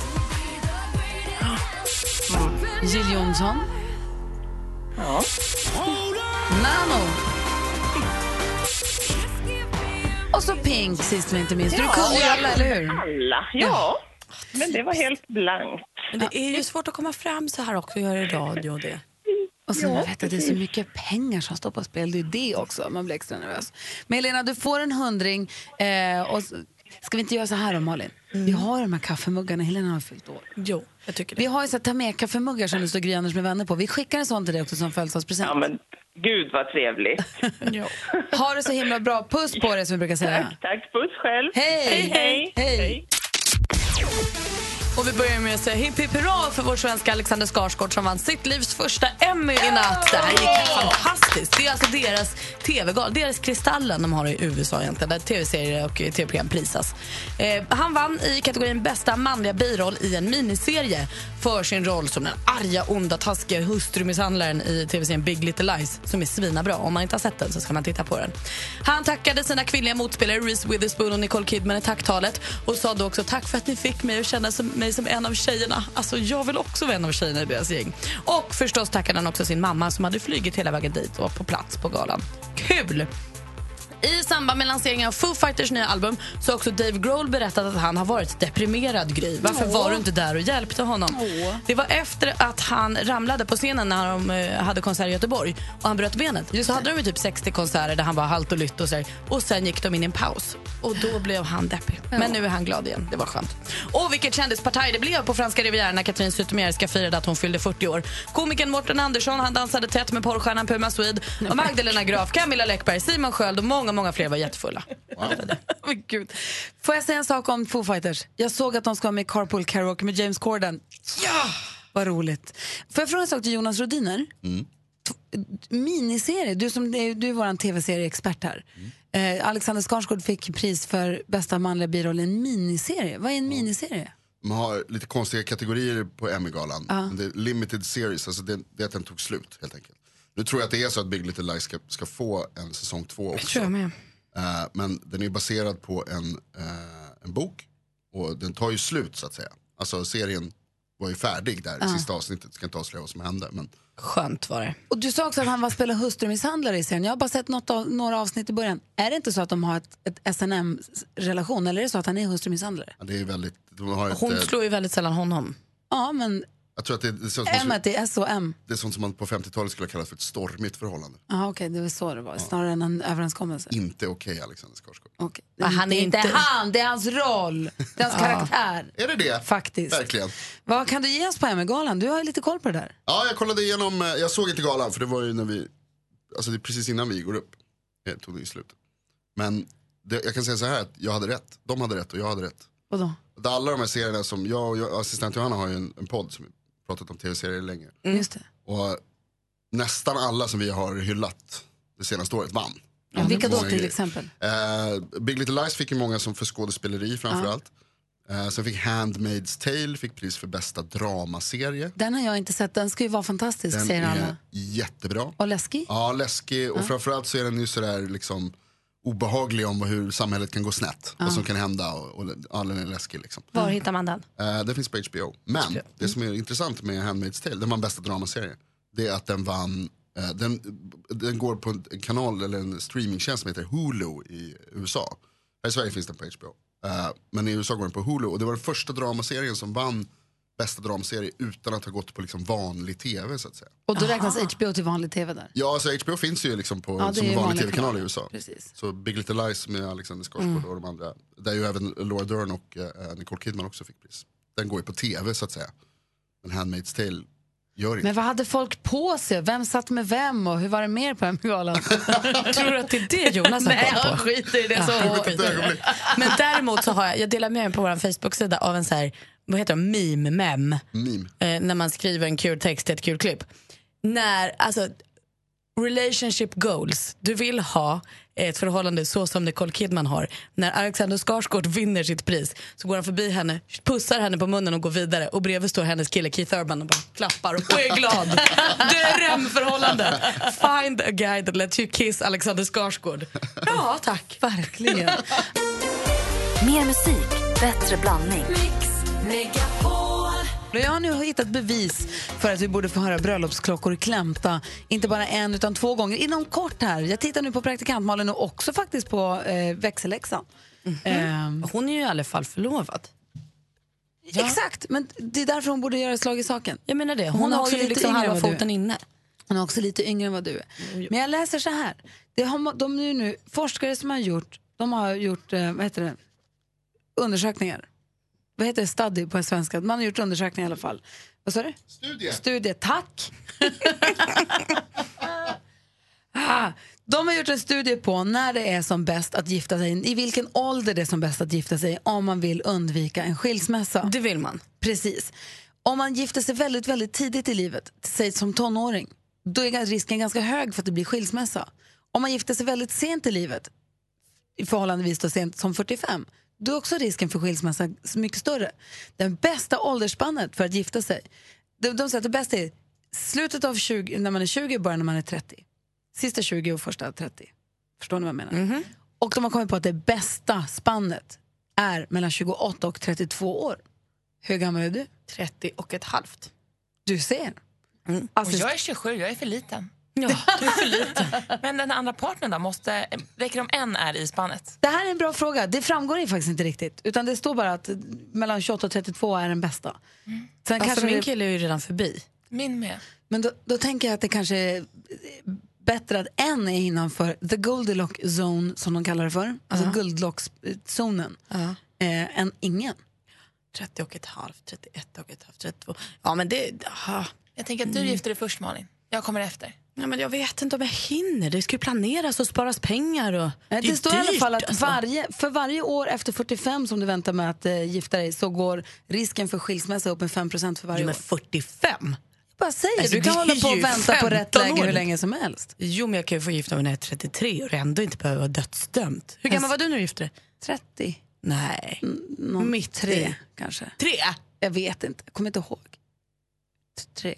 [SPEAKER 2] Jill Johnson,
[SPEAKER 11] Ja.
[SPEAKER 2] Nano och så Pink, sist men inte minst. Du kunde ju alla, eller hur?
[SPEAKER 11] Alla, ja. Men det var helt blankt.
[SPEAKER 5] Men det är ju svårt att komma fram så här också och göra i radio och det.
[SPEAKER 2] Och sen
[SPEAKER 5] Ja,
[SPEAKER 2] man vet att det är så mycket pengar som står på spel. Det är det också. Man blir extra nervös. Men Helena, du får en hundring. Eh, och s- ska vi inte göra så här då, Malin? Vi har de här kaffemuggarna. Helena har fyllt år.
[SPEAKER 5] Jo, jag tycker
[SPEAKER 2] Vi har ju så här, ta med kaffemuggar som det står Gry Anders med vänner på. Vi skickar en sån till dig också som födelsedagspresent.
[SPEAKER 11] Ja, men gud vad trevligt.
[SPEAKER 2] Ha det så himla bra. Puss på dig som vi brukar säga.
[SPEAKER 11] Tack, puss själv.
[SPEAKER 2] Hej!
[SPEAKER 11] Hej, hej.
[SPEAKER 2] Hej.
[SPEAKER 5] Och vi börjar med att säga hipp hipp hurra för vår svenska Alexander Skarsgård som vann sitt livs första Emmy i natt. Det här gick fantastiskt. Det är alltså deras tv-gal, deras Kristallen de har i USA egentligen, där tv-serier och eh, tv-program prisas. Eh, han vann i kategorin bästa manliga biroll i en miniserie för sin roll som den arga, onda, taskiga hustrumisshandlaren i tv-serien Big Little Lies som är svinabra. Om man inte har sett den så ska man titta på den. Han tackade sina kvinnliga motspelare Reese Witherspoon och Nicole Kidman i tacktalet och sa då också tack för att ni fick mig att känna som, mig som en av tjejerna. Alltså jag vill också vara en av tjejerna i deras gäng. Och förstås tackade han också sin mamma som hade flugit hela vägen dit och var på plats på galan. Kul! I samband med lanseringen av Foo Fighters nya album så har också Dave Grohl berättat att han har varit deprimerad, Gry. Varför
[SPEAKER 12] Åh.
[SPEAKER 5] var du inte där och hjälpte honom?
[SPEAKER 12] Åh.
[SPEAKER 5] Det var efter att han ramlade på scenen när de eh, hade konsert i Göteborg och han bröt benet. så hade de ju typ 60 konserter där han var halt och lytt och så här. Och sen gick de in i en paus och då blev han deppig. Men nu är han glad igen. Det var skönt. Och vilket kändispartaj det blev på franska rivieran när Katrin Zytomierska firade att hon fyllde 40 år. Komikern Morten Andersson han dansade tätt med porrstjärnan Puma Swede och Magdalena Graf, Camilla Läckberg, Simon Sköld och många, många fler var jättefulla.
[SPEAKER 2] Men Gud. Får jag säga en sak om Foo Fighters? Jag såg att de ska vara med i Carpool Karaoke med James Corden. Ja! Vad roligt. Får jag fråga en sak till Jonas Rodiner?
[SPEAKER 9] Mm.
[SPEAKER 2] Miniserie, du, som, du är vår tv-serieexpert här. Eh, Alexander Skarsgård fick pris för bästa manliga biroll i en miniserie. Vad är en miniserie?
[SPEAKER 9] De har lite konstiga kategorier på Emmy-galan.
[SPEAKER 2] Ja.
[SPEAKER 9] Men Det är limited series, alltså det, det är att den tog slut helt enkelt. Nu tror jag att det är så att Big Little Lies ska, ska få en säsong två också. Eh, men den är baserad på en, eh, en bok och den tar ju slut så att säga. Alltså serien var ju färdig där i
[SPEAKER 2] Ja.
[SPEAKER 9] sista avsnittet, ska inte avslöja vad som hände. Men...
[SPEAKER 5] Skönt var det.
[SPEAKER 2] Och du sa också att han var spelar hustrumisshandlare i serien. Jag har bara sett något av, några avsnitt i början. Är det inte så att de har ett, ett SNM-relation eller är det så att han är hustrumisshandlare?
[SPEAKER 9] Ja, det är väldigt, de har ett,
[SPEAKER 5] Hon
[SPEAKER 9] eh,
[SPEAKER 5] slår ju väldigt sällan honom.
[SPEAKER 2] Ja, men
[SPEAKER 9] Jag tror att det, det, är sånt som,
[SPEAKER 2] M det är S och M.
[SPEAKER 9] det är sånt som man på 50-talet skulle ha kallat för ett stormigt förhållande.
[SPEAKER 2] Jaha, okej, det var så det var. Snarare än en överenskommelse.
[SPEAKER 9] Inte okej Alexander Skarsgård.
[SPEAKER 2] Okej.
[SPEAKER 5] Ja, han är
[SPEAKER 2] det är inte
[SPEAKER 5] inte-
[SPEAKER 2] Ah, han, det är hans roll. Det är hans
[SPEAKER 9] Ja.
[SPEAKER 2] karaktär.
[SPEAKER 9] Är det det?
[SPEAKER 2] Faktiskt.
[SPEAKER 9] Verkligen.
[SPEAKER 2] Vad kan du ge oss på Emmy-galan? Du har ju lite koll på det där.
[SPEAKER 9] Ja, jag kollade igenom, eh, jag såg inte galan för det var ju när vi, alltså det är precis innan vi går upp. Eh, tog det ju slut. Men det, jag kan säga så här att jag hade rätt, de hade rätt och jag hade rätt.
[SPEAKER 2] Vadå?
[SPEAKER 9] Att Alla de här serierna som, jag och jag, assistent Johanna har ju en, en podd som vi pratat om tv-serier länge.
[SPEAKER 2] Mm. Just det.
[SPEAKER 9] Och nästan alla som vi har hyllat det senaste året vann.
[SPEAKER 2] Ja, vilka då
[SPEAKER 9] Många
[SPEAKER 2] till
[SPEAKER 9] grejer.
[SPEAKER 2] exempel?
[SPEAKER 9] Eh, Big Little Lies fick ju många som för skådespeleri framförallt. Uh, sen fick Handmaid's Tale fick pris för bästa dramaserie.
[SPEAKER 2] Den har jag inte sett. Den ska ju vara fantastisk,
[SPEAKER 9] Den
[SPEAKER 2] säger
[SPEAKER 9] är
[SPEAKER 2] alla.
[SPEAKER 9] jättebra.
[SPEAKER 2] Och läskig?
[SPEAKER 9] Ja, läskig och
[SPEAKER 2] Ja.
[SPEAKER 9] framförallt så är den ju sådär liksom obehaglig om hur samhället kan gå snett.
[SPEAKER 5] Ja.
[SPEAKER 9] Vad som kan hända och, och ja, den är läskig liksom.
[SPEAKER 5] Var hittar man den?
[SPEAKER 9] Eh, den finns på HBO. Men det som är intressant med Handmaid's Tale, den vann bästa dramaserie. Det är att den vann, eh, den, den går på en kanal eller en streamingtjänst som heter Hulu i USA. Här i Sverige finns den på HBO. Eh, men i USA går den på Hulu och det var den första dramaserien som vann bästa dramaserie utan att ha gått på liksom vanlig tv så att säga.
[SPEAKER 2] Och då räknas HBO till vanlig tv där.
[SPEAKER 9] Ja, alltså HBO finns ju liksom på,
[SPEAKER 2] Ja, det
[SPEAKER 9] som
[SPEAKER 2] är
[SPEAKER 9] en
[SPEAKER 2] ju
[SPEAKER 9] vanlig
[SPEAKER 2] vanliga
[SPEAKER 9] tv-kanal i
[SPEAKER 2] kanaler.
[SPEAKER 9] USA. Så Big Little Lies med Alexander Skarsgård
[SPEAKER 2] Mm.
[SPEAKER 9] och de andra. Där ju även Laura Dern och eh, Nicole Kidman också fick pris. Den går ju på tv så att säga. Men Handmaid's Tale gör inte.
[SPEAKER 2] Men vad hade folk på sig? Vem satt med vem och hur var det mer på Emmy-galan?
[SPEAKER 5] Tror du att det är det Jonas har
[SPEAKER 2] Nej,
[SPEAKER 5] koll på?
[SPEAKER 2] jag skiter i det. Så.
[SPEAKER 5] Ja. Men däremot så har jag, jag delar med mig på vår Facebook-sida av en så här, vad heter de, meme-mem.
[SPEAKER 9] Meme.
[SPEAKER 5] Eh, när man skriver en kul text till ett kul klipp. När, alltså, relationship goals. Du vill ha ett förhållande så som Nicole Kidman har. När Alexander Skarsgård vinner sitt pris så går han förbi henne, pussar henne på munnen och går vidare. Och bredvid står hennes kille Keith Urban och bara klappar och är glad. Drömförhållande. Find a guy that lets you kiss Alexander Skarsgård. Ja, tack. Verkligen.
[SPEAKER 6] Mer musik, bättre blandning.
[SPEAKER 2] Jag har nu hittat bevis för att vi borde få höra bröllopsklockor klämta. Inte bara en, utan två gånger inom kort här. Jag tittar nu på praktikantmalen och också faktiskt på eh, växelläxan. Ehm,
[SPEAKER 5] Hon är ju i alla fall förlovad.
[SPEAKER 2] Exakt, men det är därför hon borde göra slag i saken.
[SPEAKER 5] Jag menar det. Hon, har ju liksom halva foten inne.
[SPEAKER 2] Hon är också lite yngre än vad du är. Men jag läser så här. Det har, de nu, nu, forskare som har gjort, de har gjort eh, vad heter det? undersökningar. Vad heter det? Study på svenska. Man har gjort undersökningar i alla fall. Vad sa du?
[SPEAKER 9] Studie.
[SPEAKER 2] Studie, tack. ah, de har gjort en studie på när det är som bäst att gifta sig, i vilken ålder det är som bäst att gifta sig om man vill undvika en skilsmässa.
[SPEAKER 5] Det vill man.
[SPEAKER 2] Precis. Om man gifter sig väldigt, väldigt tidigt i livet, säg som tonåring, då är risken ganska hög för att det blir skilsmässa. Om man gifter sig väldigt sent i livet, i förhållandevis då sent som 45, då är också risken för skilsmässa så mycket större. Den bästa åldersspannet för att gifta sig, de, de säger att det bästa är slutet av 20, när man är 20 och början när man är 30. Sista 20 och första 30. Förstår ni vad jag menar? Och de har kommit på att det bästa spannet är mellan 28 och 32 år. Hur gammal är du?
[SPEAKER 5] 30 och ett halvt.
[SPEAKER 2] Du ser.
[SPEAKER 13] Och jag är 27, jag är för liten. Du är för liten. Men den andra partnern då? Måste, räcker det om en är i spannet?
[SPEAKER 2] Det här är en bra fråga. Det framgår ju faktiskt inte riktigt. Utan det står bara att mellan 28 och 32 är den bästa. Sen
[SPEAKER 5] Alltså, min
[SPEAKER 2] kille är ju redan förbi.
[SPEAKER 13] Min med.
[SPEAKER 2] Men då, då tänker jag att det kanske är bättre att en är innanför the Goldilocks zone som de kallar det för. Alltså guldlockszonen. Eh, än ingen.
[SPEAKER 5] 30 och ett halvt, 31 och ett halvt, 32. Ja, men det... Aha.
[SPEAKER 13] Jag tänker att du gifter dig först Malin. Jag kommer efter.
[SPEAKER 5] Ja, men jag vet inte om jag hinner. Det ska ju planeras och sparas pengar. Och...
[SPEAKER 2] Eh, Det,
[SPEAKER 5] är ju
[SPEAKER 2] står i alla
[SPEAKER 5] dyrt,
[SPEAKER 2] fall att
[SPEAKER 5] alltså.
[SPEAKER 2] varje, för varje år efter 45 som du väntar med att eh, gifta dig så går risken för skilsmässa upp med 5 för varje
[SPEAKER 5] Jo, men
[SPEAKER 2] år.
[SPEAKER 5] 45?
[SPEAKER 2] Jag bara säger,
[SPEAKER 5] Alltså,
[SPEAKER 2] du kan
[SPEAKER 5] det
[SPEAKER 2] hålla
[SPEAKER 5] är
[SPEAKER 2] på och
[SPEAKER 5] ju
[SPEAKER 2] vänta på rätt
[SPEAKER 5] 15
[SPEAKER 2] läge
[SPEAKER 5] år.
[SPEAKER 2] hur länge som helst.
[SPEAKER 5] Jo, men jag kan ju få gifta mig när jag är 33 och ändå inte behöva vara dödsdömd. Hur
[SPEAKER 2] Alltså-
[SPEAKER 5] gammal var du när du gifte dig?
[SPEAKER 2] 30.
[SPEAKER 5] Nej.
[SPEAKER 2] Mm. Någon
[SPEAKER 5] Mitt
[SPEAKER 2] tre,
[SPEAKER 5] i.
[SPEAKER 2] kanske.
[SPEAKER 5] Tre?
[SPEAKER 2] Jag vet inte, jag kommer inte ihåg. T- Tre?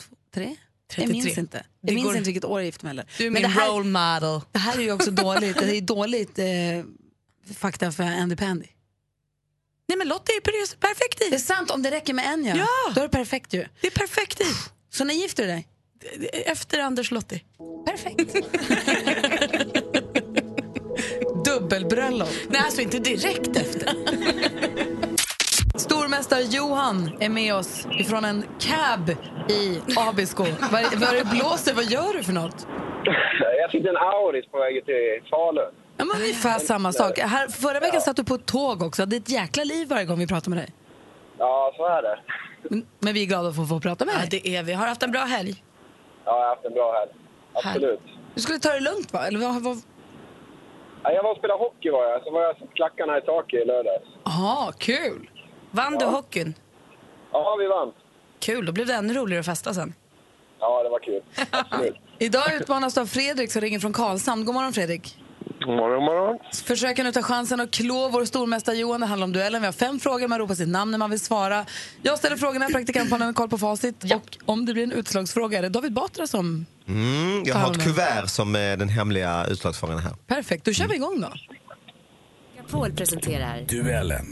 [SPEAKER 2] Två, tre? Jag
[SPEAKER 5] 33.
[SPEAKER 2] minns inte.
[SPEAKER 5] Det
[SPEAKER 2] Jag minns
[SPEAKER 5] går-
[SPEAKER 2] inte vilket år jag gifte mig heller.
[SPEAKER 5] Du är
[SPEAKER 2] Men
[SPEAKER 5] min
[SPEAKER 2] det här-
[SPEAKER 5] role model.
[SPEAKER 2] Det här är ju också dåligt, det är dåligt eh, fakta för Andy Pandy.
[SPEAKER 5] Nej men Lotta är ju perfekt i.
[SPEAKER 2] Det är sant, om det räcker med en ja. Då är det perfekt ju.
[SPEAKER 5] Det är perfekt i.
[SPEAKER 2] Så när gifter du dig?
[SPEAKER 5] Efter Anders Lotti.
[SPEAKER 2] Perfekt. Dubbelbröllop.
[SPEAKER 5] Nej, alltså inte direkt efter.
[SPEAKER 2] Stormästare Johan är med oss ifrån en cab i Abisko. Vad vad det blåser, vad gör du för något?
[SPEAKER 14] Jag fick en Auris på väg till Falun.
[SPEAKER 2] Ja, men ungefär samma sak. Här, förra veckan satt du på ett tåg också. Det är ett jäkla liv varje gång vi pratar med dig.
[SPEAKER 14] Ja, så är det.
[SPEAKER 2] Men- Men vi är glada för att få prata med dig. Ja,
[SPEAKER 5] det är vi. Har haft en bra helg?
[SPEAKER 14] Ja, jag har haft en bra helg. Absolut.
[SPEAKER 2] Du skulle ta det lugnt va? Eller vad, vad...
[SPEAKER 14] Ja, jag var och spelade hockey var jag, så var jag klackarna i taket i lördags.
[SPEAKER 2] Aha, kul!
[SPEAKER 5] Vann du hockeyn?
[SPEAKER 14] Ja, vi vann.
[SPEAKER 5] Kul, då blev det ännu roligare att festa sen.
[SPEAKER 14] Ja, det var kul. Absolut.
[SPEAKER 2] Idag utmanas du av Fredrik som ringer från Karlshamn. God morgon Fredrik!
[SPEAKER 15] Morgon, morgon.
[SPEAKER 2] Försöker nu ta chansen att klå vår stormästare Johan. Det handlar om duellen. Vi har fem frågor. Man ropar sitt namn när man vill svara. Jag ställer frågorna, praktikantmannen har koll på facit. Och om det blir en utslagsfråga är det David Batra som...
[SPEAKER 16] Mm, jag
[SPEAKER 2] Ta
[SPEAKER 16] har ett
[SPEAKER 2] med.
[SPEAKER 16] kuvert som
[SPEAKER 10] eh,
[SPEAKER 16] är den hemliga utslagsfrågan här.
[SPEAKER 2] Perfekt, då kör vi igång då.
[SPEAKER 7] Paul presenterar
[SPEAKER 16] Duellen.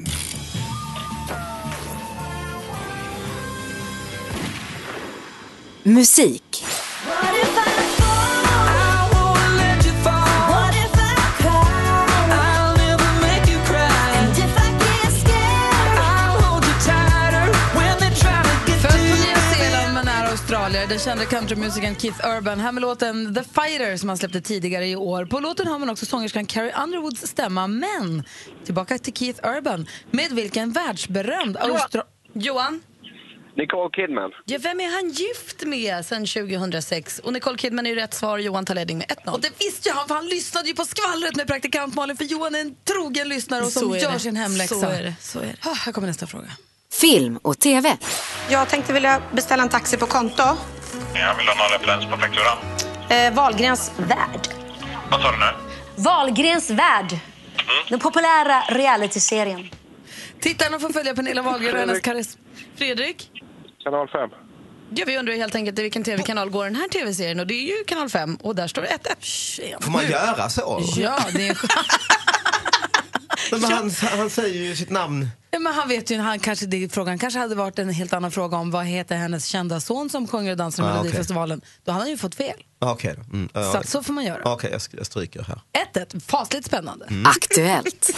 [SPEAKER 7] musik.
[SPEAKER 2] Född på Nya Zeeland men är australier. Den kände countrymusikern Keith Urban. Här med låten The Fighter som han släppte tidigare i år. På låten hör man också sångerskan Carrie Underwoods stämma. Men tillbaka till Keith Urban. Med vilken världsberömd austra...
[SPEAKER 5] Johan?
[SPEAKER 14] Nicole Kidman.
[SPEAKER 5] Ja, vem är han gift med sen 2006? Och Nicole Kidman är ju rätt svar. Johan tar ledning med 1-0.
[SPEAKER 2] Och det visste ju han, för han lyssnade ju på skvallret med praktikant Malin, för Johan är en trogen lyssnare och som
[SPEAKER 5] Så är
[SPEAKER 2] gör
[SPEAKER 5] det.
[SPEAKER 2] sin hemläxa.
[SPEAKER 5] Så är det, så är det.
[SPEAKER 2] Ah, här kommer nästa fråga.
[SPEAKER 7] Film och TV.
[SPEAKER 17] Jag tänkte vilja beställa en taxi på konto.
[SPEAKER 18] Jag vill ha någon referens på fakturan.
[SPEAKER 17] Eh, Wahlgrens värld.
[SPEAKER 18] Vad sa du nu?
[SPEAKER 7] Valgrens värld. Den populära realityserien.
[SPEAKER 2] Tittarna får följa Pernilla Wahlgren och hennes karriär.
[SPEAKER 5] Fredrik?
[SPEAKER 15] Kanal 5.
[SPEAKER 5] Ja, vi undrar ju helt enkelt i vilken tv-kanal går den här tv-serien? Och det är ju kanal 5 och där står det 1-1. Tjena.
[SPEAKER 16] Får man göra så?
[SPEAKER 2] Ja, det är en
[SPEAKER 16] Men han, han säger ju sitt namn.
[SPEAKER 2] Ja, men han vet ju, han kanske, det, frågan kanske hade varit en helt annan fråga om vad heter hennes kända son som sjunger och dansar i
[SPEAKER 16] Ah, okej.
[SPEAKER 2] Melodifestivalen. Då hade han ju fått fel.
[SPEAKER 16] Ah, Okej då. Mm, ja,
[SPEAKER 2] Så
[SPEAKER 16] ja.
[SPEAKER 2] att så får man göra.
[SPEAKER 16] Okej, jag, sk- jag stryker här.
[SPEAKER 2] 1-1, fasligt spännande.
[SPEAKER 16] Mm. Aktuellt.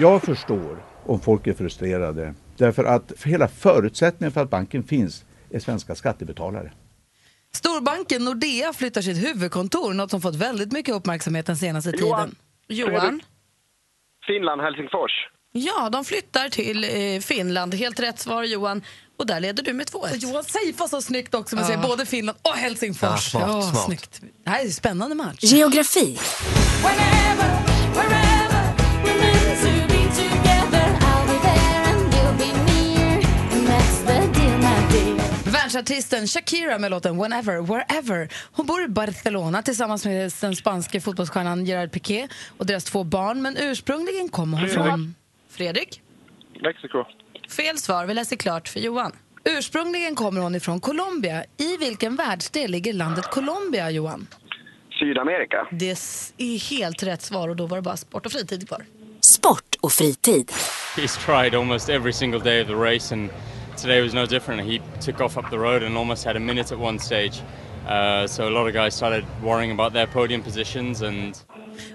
[SPEAKER 19] Jag förstår om folk är frustrerade. Därför att för hela förutsättningen för att banken finns är svenska skattebetalare.
[SPEAKER 2] Storbanken Nordea flyttar sitt huvudkontor, något som fått väldigt mycket uppmärksamhet den senaste
[SPEAKER 5] Johan.
[SPEAKER 2] tiden. Johan?
[SPEAKER 14] Finland, Helsingfors.
[SPEAKER 5] Ja, de flyttar till eh, Finland. Helt rätt svar, Johan. Och där leder du med 2-1.
[SPEAKER 2] Johan Seifa så snyggt också. Man säger både Finland och Helsingfors.
[SPEAKER 5] Ja, smart,
[SPEAKER 2] Ja,
[SPEAKER 5] smart.
[SPEAKER 2] Snyggt. Det här är en spännande match.
[SPEAKER 7] Geografi.
[SPEAKER 5] Fotbollsartisten Shakira med låten Whenever, Wherever. Hon bor i Barcelona tillsammans med den spanske fotbollsstjärnan Gerard Piqué och deras två barn. Men ursprungligen kommer hon
[SPEAKER 4] Fredrik.
[SPEAKER 5] från... Fredrik?
[SPEAKER 4] Mexiko.
[SPEAKER 5] Fel svar. Vi läser klart för Johan. Ursprungligen kommer hon ifrån Colombia. I vilken världsdel ligger landet Colombia, Johan?
[SPEAKER 20] Sydamerika.
[SPEAKER 5] Det s- är helt rätt svar och då var det bara sport och fritid kvar.
[SPEAKER 21] Sport och fritid.
[SPEAKER 2] He's tried almost every single day of the race, and today was no different. He took off up the road and almost had a minute at one stage. Uh, so a lot of guys started worrying about their podium positions, and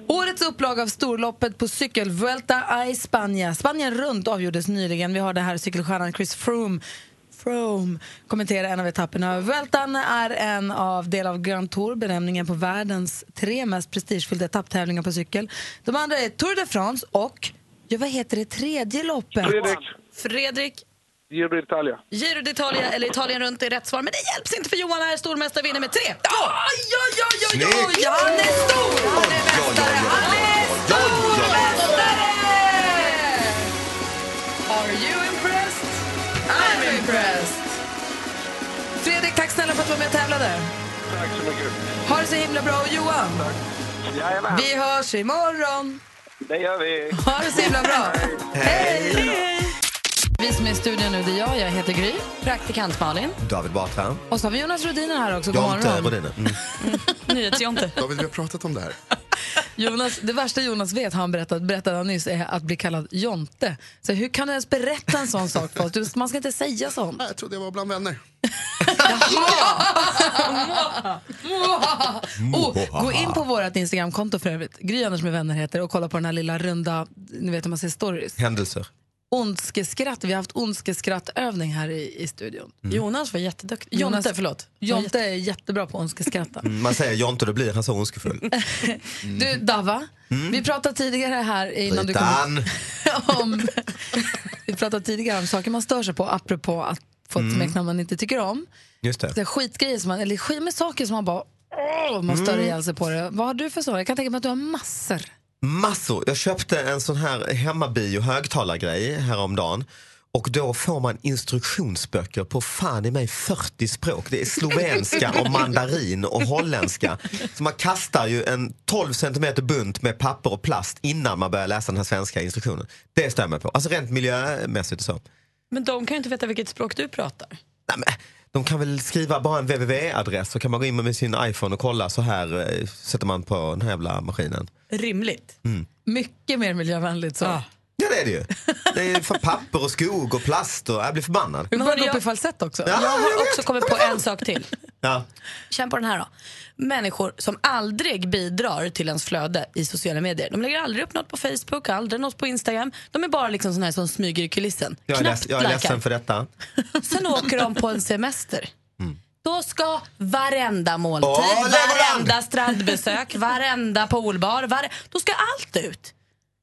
[SPEAKER 5] Årets upplaga av storloppet på cykel Vuelta a España. Spanien runt avgjordes nyligen. Vi har det här cykelstjärnan Chris Froome Froome kommentera en av etapperna. Vueltan är en av del av Grand Tour, benämningen på världens tre mest prestigefyllda etapptävlingar på cykel. De andra är Tour de France och, ja, vad heter det tredje loppet?
[SPEAKER 4] Fredrik.
[SPEAKER 5] Fredrik
[SPEAKER 4] Giro d'Italia.
[SPEAKER 22] Giro d'Italia, eller Italien runt, är rätt svar. Men det hjälps inte för Johan är stormästare vinner med 3, 2,
[SPEAKER 5] Oj, oj, han är stor! Han är mästare! Han är stormästare! Are you impressed? I'm impressed! Fredrik, tack snälla för att du var med och tävlade.
[SPEAKER 4] Tack så mycket.
[SPEAKER 5] Ha det så himla bra. Och Johan,
[SPEAKER 4] Jajamän,
[SPEAKER 5] vi hörs imorgon.
[SPEAKER 4] det gör vi.
[SPEAKER 5] Ha det så himla bra. Hej! Vi som är i studion nu, det är jag. Jag heter Gry. Praktikant Malin.
[SPEAKER 6] David Batra.
[SPEAKER 5] Och så har vi Jonas Rhodiner här också. God
[SPEAKER 6] Jonte
[SPEAKER 5] morgon.
[SPEAKER 6] Rodiner. Mm.
[SPEAKER 5] Nyhetsjonte.
[SPEAKER 9] David, vi har pratat om det här.
[SPEAKER 5] Jonas, det värsta Jonas vet, har han berättat, berättade han nyss, är att bli kallad Jonte. Så hur kan du ens berätta en sån sak för oss? Du, man ska inte säga sånt.
[SPEAKER 9] Jag trodde jag var bland vänner.
[SPEAKER 5] oh, gå in på vårt Instagramkonto för övrigt. Gry Anders med vänner heter det, och kolla på den här lilla runda, ni vet hur man ser stories.
[SPEAKER 6] Händelser.
[SPEAKER 5] Ondskeskratt, vi har haft ondskekrattövning här i, i studion. Jonas var jätteduktig.
[SPEAKER 22] Jonte, förlåt.
[SPEAKER 5] Jonte är jättebra på ondskeskratta.
[SPEAKER 6] Mm, Man säger Jonte, då blir han så ondskefull.
[SPEAKER 5] Du, Dava,
[SPEAKER 6] Mm.
[SPEAKER 5] vi pratade tidigare här innan du kom hit.
[SPEAKER 6] Ritan.
[SPEAKER 5] om, vi pratade tidigare om saker man stör sig på, apropå att få ett
[SPEAKER 6] Mm.
[SPEAKER 5] smeknamn man inte tycker om.
[SPEAKER 6] Just
[SPEAKER 5] Så här
[SPEAKER 6] det.
[SPEAKER 5] skitgrejer som man, eller skit med saker som man bara, åh, man stör
[SPEAKER 6] Mm.
[SPEAKER 5] ihjäl sig på det. Vad har du för sådana? Jag kan tänka mig att du har massor.
[SPEAKER 6] Massor. Jag köpte en sån här hemmabio högtalargrej häromdagen. Och då får man instruktionsböcker på fan i mig 40 språk. Det är slovenska och mandarin och holländska. Så man kastar ju en 12 centimeter bunt med papper och plast innan man börjar läsa den här svenska instruktionen. Det stör jag mig på. Alltså rent miljömässigt och så.
[SPEAKER 22] Men de kan ju inte veta vilket språk du pratar.
[SPEAKER 6] De kan väl skriva bara en www-adress så kan man gå in med sin iPhone och kolla så här eh, sätter man på den här jävla maskinen.
[SPEAKER 5] Rimligt.
[SPEAKER 6] Mm.
[SPEAKER 5] Mycket mer miljövänligt så.
[SPEAKER 6] Ja det är det ju. Det är för papper och skog och plast och jag blir förbannad.
[SPEAKER 5] Men börjar gå upp i falsett också.
[SPEAKER 6] Ja,
[SPEAKER 22] jag har också kommit på en sak till.
[SPEAKER 6] Ja.
[SPEAKER 22] Känn på den här då. Människor som aldrig bidrar till ens flöde i sociala medier. De lägger aldrig upp något på Facebook, aldrig något på Instagram. De är bara liksom såna här som smyger i kulissen.
[SPEAKER 6] Jag är, leds- jag är
[SPEAKER 22] likar.
[SPEAKER 6] ledsen för detta.
[SPEAKER 22] Sen åker de på en semester. Då ska varenda måltid,
[SPEAKER 6] Mm. Åh,
[SPEAKER 22] varenda strandbesök, varenda poolbar, vare... då ska allt ut.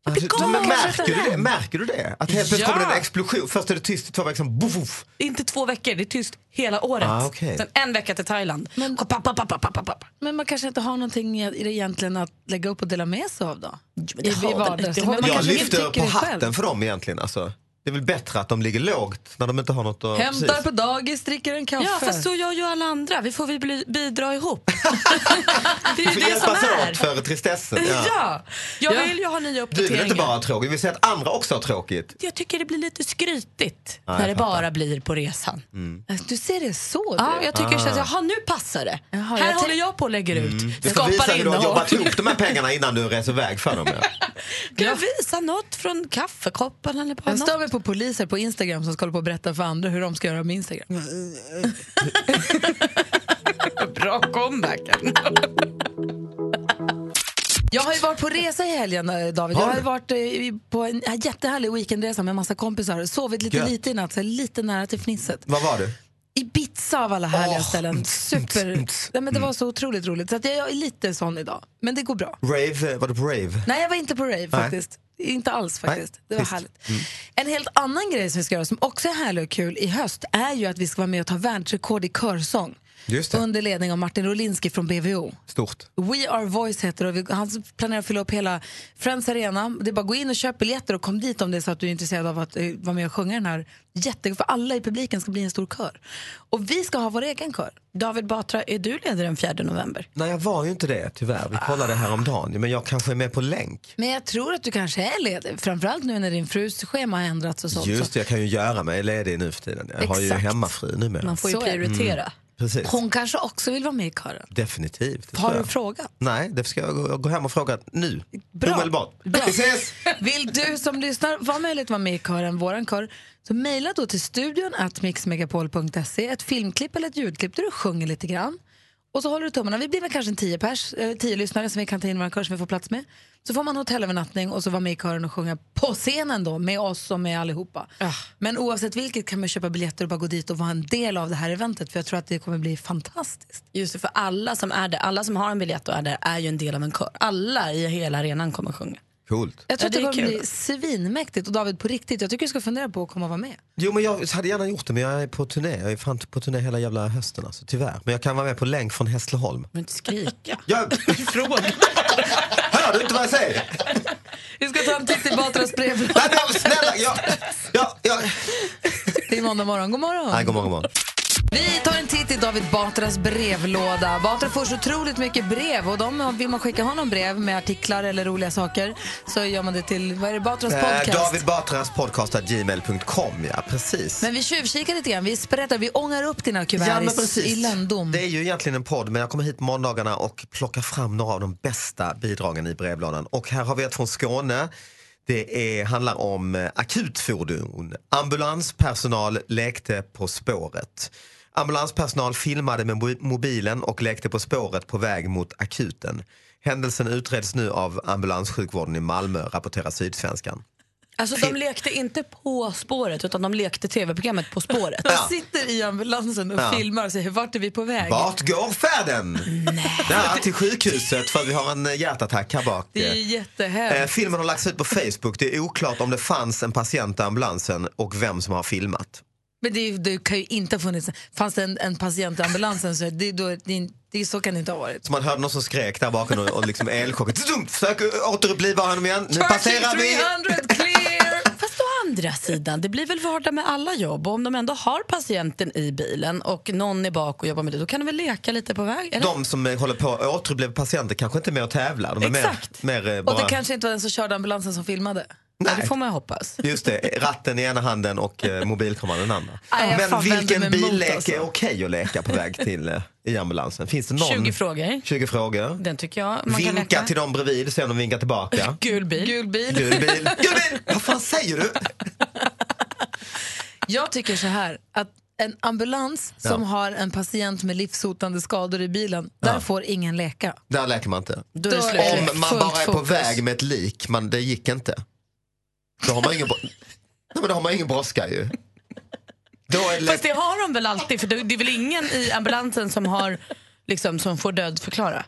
[SPEAKER 6] Alltså,
[SPEAKER 22] galen.
[SPEAKER 6] men märker,
[SPEAKER 22] Kanske
[SPEAKER 6] du
[SPEAKER 22] inte
[SPEAKER 6] det?
[SPEAKER 22] den.
[SPEAKER 6] märker du det? Att helt plötsligt
[SPEAKER 22] Ja.
[SPEAKER 6] kommer det en explosion. Först är det tyst i två veckor, sen boff, boff.
[SPEAKER 22] Inte två veckor, det är tyst hela året.
[SPEAKER 6] Ah, okej.
[SPEAKER 22] Sen en vecka till Thailand. Och papp, papp, papp, papp, papp, papp.
[SPEAKER 5] Men man kanske inte har någonting i i det egentligen att lägga upp och dela med sig av då?
[SPEAKER 22] det har väl- det har väl-
[SPEAKER 5] man
[SPEAKER 6] Jag
[SPEAKER 5] kanske
[SPEAKER 6] lyfter
[SPEAKER 5] tycker
[SPEAKER 6] på
[SPEAKER 5] det själv.
[SPEAKER 6] hatten för dem egentligen. Alltså. Det är väl bättre att de ligger lågt när de inte har något att...
[SPEAKER 5] Hämtar
[SPEAKER 6] precis.
[SPEAKER 5] på dagis, dricker en kaffe.
[SPEAKER 22] Ja, fast så gör ju alla andra. Vi får väl bli, bidra ihop. det är
[SPEAKER 6] Vi
[SPEAKER 22] ju det
[SPEAKER 6] får
[SPEAKER 22] som
[SPEAKER 6] hjälpas
[SPEAKER 22] är.
[SPEAKER 6] åt för tristessen.
[SPEAKER 22] Ja. jag
[SPEAKER 6] Ja.
[SPEAKER 22] vill ju ha nya
[SPEAKER 6] Du vill
[SPEAKER 22] uppdateringar.
[SPEAKER 6] inte bara ha tråkigt, vi vill se att andra också har tråkigt.
[SPEAKER 22] Jag tycker det blir lite skrytigt
[SPEAKER 6] Ja, jag
[SPEAKER 22] när det
[SPEAKER 6] fattar.
[SPEAKER 22] bara blir på resan.
[SPEAKER 6] Mm.
[SPEAKER 5] Äh, Du ser det så?
[SPEAKER 22] Ja, jag tycker det känns,
[SPEAKER 6] Ah.
[SPEAKER 22] jaha nu passar det. här
[SPEAKER 5] jag
[SPEAKER 22] håller jag på och lägger ut.
[SPEAKER 6] Mm. Du får visa
[SPEAKER 22] Skapar
[SPEAKER 6] hur du har
[SPEAKER 22] innehåll.
[SPEAKER 6] jobbat ihop de här pengarna innan du reser iväg för dem. Ja.
[SPEAKER 22] Kan jag visa något från kaffekoppen eller bara
[SPEAKER 5] Jag
[SPEAKER 22] något?
[SPEAKER 5] stör mig på poliser på Instagram som ska hålla på och berätta för andra hur de ska göra med Instagram.
[SPEAKER 22] Bra comeback.
[SPEAKER 5] Jag har ju varit på resa i helgen, eh, David. Jag
[SPEAKER 22] Har
[SPEAKER 5] har ju
[SPEAKER 22] du?
[SPEAKER 5] varit eh, i- på en en jättehärlig weekendresa med massa kompisar. Sovit lite
[SPEAKER 6] Gött.
[SPEAKER 5] lite i natt, så jag är lite nära till fnisset.
[SPEAKER 6] Vad var du?
[SPEAKER 5] Ibiza av alla härliga ställen. Super. Nej, men det
[SPEAKER 6] mm.
[SPEAKER 5] var så otroligt roligt. Så att jag är lite sån idag. Men det går bra.
[SPEAKER 6] Rave? eh, Var du på rave?
[SPEAKER 5] Nej, jag var inte på rave
[SPEAKER 6] Nej.
[SPEAKER 5] faktiskt. Inte alls faktiskt.
[SPEAKER 6] Nej,
[SPEAKER 5] Det var
[SPEAKER 6] trist.
[SPEAKER 5] härligt.
[SPEAKER 6] Mm.
[SPEAKER 5] En helt annan grej som vi ska göra som också är härlig och kul i höst är ju att vi ska vara med och ta världsrekord i körsång.
[SPEAKER 9] Just det.
[SPEAKER 5] under ledning av Martin Rolinski från BVO.
[SPEAKER 9] Stort.
[SPEAKER 5] We Are Voice heter det och vi, han planerar att fylla upp hela Friends Arena. Det är bara att gå in och köp biljetter och kom dit om det är så att du är intresserad av att eh, vara med och sjunga den här jätte... För alla i publiken ska bli en stor kör. Och vi ska ha vår egen kör.
[SPEAKER 2] David Batra, är du ledig den 4 november?
[SPEAKER 9] Nej, jag var ju inte det tyvärr. Vi kollade häromdagen. Men jag kanske är med på länk.
[SPEAKER 5] Men jag tror att du kanske är ledig, framförallt nu när din frus schema har ändrats och sånt.
[SPEAKER 9] Just det, jag kan ju göra mig ledig nu för tiden. Jag har ju
[SPEAKER 5] Exakt.
[SPEAKER 9] hemmafru numera.
[SPEAKER 5] Man får ju
[SPEAKER 9] Så är det. Mm.
[SPEAKER 5] prioritera.
[SPEAKER 9] Precis.
[SPEAKER 5] Hon kanske också vill vara med i kören.
[SPEAKER 9] Definitivt. det
[SPEAKER 5] Har
[SPEAKER 9] tror
[SPEAKER 5] du
[SPEAKER 9] jag.
[SPEAKER 5] frågat?
[SPEAKER 9] Nej, det ska jag gå- gå hem och fråga nu. Omedelbart.
[SPEAKER 5] Bra. Vill du som lyssnar vara möjligt att vara med i kören, våran kör, så mejla då till studion at mixmegapol.se ett filmklipp eller ett ljudklipp där du sjunger lite grann. Och så håller du tummarna. Vi blir väl kanske en tio, pers, eh, tio lyssnare som vi kan ta in i vår kör som vi får plats med. Så får man hotellövernattning och så vara med i kören och sjunga på scenen då med oss och med allihopa. Men oavsett vilket kan man köpa biljetter och bara gå dit och vara en del av det här eventet för jag tror att det kommer bli fantastiskt.
[SPEAKER 2] Just det, för alla som är där, alla som har en biljett och är där är ju en del av en kör. Alla i hela arenan kommer sjunga.
[SPEAKER 9] Coolt.
[SPEAKER 5] Jag tror
[SPEAKER 2] Ja, det
[SPEAKER 5] att det
[SPEAKER 2] är
[SPEAKER 5] kommer
[SPEAKER 2] kul.
[SPEAKER 5] bli svinmäktigt och David på riktigt, jag tycker du ska fundera på att komma och vara med.
[SPEAKER 9] Jo, men jag hade gärna gjort det, men jag är på turné. Jag är fan på turné hela jävla hösten alltså, tyvärr. Men jag kan vara med på länk från Hässleholm.
[SPEAKER 2] Men inte skrika.
[SPEAKER 9] Jag... Fråga. Hör du inte vad jag säger?
[SPEAKER 5] Vi ska ta en titt i Batras brevlåda.
[SPEAKER 9] Nej, men snälla, jag, jag, jag...
[SPEAKER 5] Det är måndag morgon. God morgon.
[SPEAKER 9] Nej, god morgon, god morgon.
[SPEAKER 5] Vi tar en titt i David Batras brevlåda. Batra får så otroligt mycket brev och de, vill man skicka honom brev med artiklar eller roliga saker så gör man det till, vad är det, Batras podcast?
[SPEAKER 9] Eh, David Batras podcast at gmail.com, ja precis.
[SPEAKER 5] Men vi tjuvkikar lite grann, vi sprättar, vi ångar upp dina kuvert
[SPEAKER 9] Ja, men
[SPEAKER 5] i,
[SPEAKER 9] precis.
[SPEAKER 5] i lönndom.
[SPEAKER 9] Det är ju egentligen en podd, men jag kommer hit måndagarna och plockar fram några av de bästa bidragen i brevlådan. Och här har vi ett från Skåne. Det är, handlar om eh, akutfordon. Ambulanspersonal lekte på spåret. Ambulanspersonal filmade med mo- mobilen och lekte på spåret på väg mot akuten. Händelsen utreds nu av ambulanssjukvården i Malmö, rapporterar Sydsvenskan.
[SPEAKER 2] Alltså de lekte inte På spåret, utan de lekte tv-programmet På spåret.
[SPEAKER 5] De sitter i ambulansen och
[SPEAKER 9] Ja.
[SPEAKER 5] filmar och säger vart är vi på väg?
[SPEAKER 9] Vart går färden? Ja, till sjukhuset för att vi har en eh, hjärtattack här bak.
[SPEAKER 5] Det är ju
[SPEAKER 9] Eh,
[SPEAKER 5] jättehemskt.
[SPEAKER 9] filmen har lagts ut på Facebook. Det är oklart om det fanns en patient i ambulansen och vem som har filmat.
[SPEAKER 5] Men det, är ju- det kan ju inte ha funnits, fanns det en, en patient i ambulansen så, det, är då, det, är- det, så kan det inte ha varit.
[SPEAKER 9] Så man hörde någon som skrek där bakom och, och liksom elchocket. Zoom! Försök återuppliva honom igen. Nu passerar vi!
[SPEAKER 2] Fast å andra sidan, det blir väl vardag med alla jobb. Och om de ändå har patienten i bilen och någon är bak och jobbar med det, då kan de väl leka lite på väg? Eller?
[SPEAKER 9] De som eh, håller på att återuppliva patienter kanske inte är med och tävlar. De är
[SPEAKER 2] Exakt.
[SPEAKER 9] mer, mer eh,
[SPEAKER 5] Och
[SPEAKER 9] bara...
[SPEAKER 5] det kanske inte var den som körde ambulansen som filmade.
[SPEAKER 9] Nej.
[SPEAKER 5] det får man ju hoppas.
[SPEAKER 9] Just det, ratten i ena handen och eh, mobilkameran i den andra.
[SPEAKER 5] Nej, jag
[SPEAKER 9] Men
[SPEAKER 5] fan vänder
[SPEAKER 9] vilken
[SPEAKER 5] mig emot,
[SPEAKER 9] billek
[SPEAKER 5] alltså.
[SPEAKER 9] är okej att leka på väg till eh, i ambulansen? Finns det någon?
[SPEAKER 2] 20 frågor.
[SPEAKER 9] 20 frågor.
[SPEAKER 2] Den tycker jag man kan
[SPEAKER 9] Vinka
[SPEAKER 2] leka.
[SPEAKER 9] till dem bredvid, se om de vinkar tillbaka.
[SPEAKER 2] Gul bil.
[SPEAKER 5] Gul bil.
[SPEAKER 9] Gul bil. Gul bil! Vad fan säger du?
[SPEAKER 5] Jag tycker så här, att en ambulans
[SPEAKER 9] Ja.
[SPEAKER 5] som har en patient med livshotande skador i bilen, där
[SPEAKER 9] Ja.
[SPEAKER 5] får ingen leka.
[SPEAKER 9] Där läker man inte.
[SPEAKER 5] Då är det slut.
[SPEAKER 9] Om man
[SPEAKER 5] Fullt
[SPEAKER 9] bara är på
[SPEAKER 5] fokus.
[SPEAKER 9] väg med ett lik, men det gick inte. Då har man ingen, bro- Nej, men då har man ingen brådska ju. Då är det
[SPEAKER 2] Fast det har de väl alltid, för det det är väl ingen i ambulansen som, har, liksom, som får dödförklara?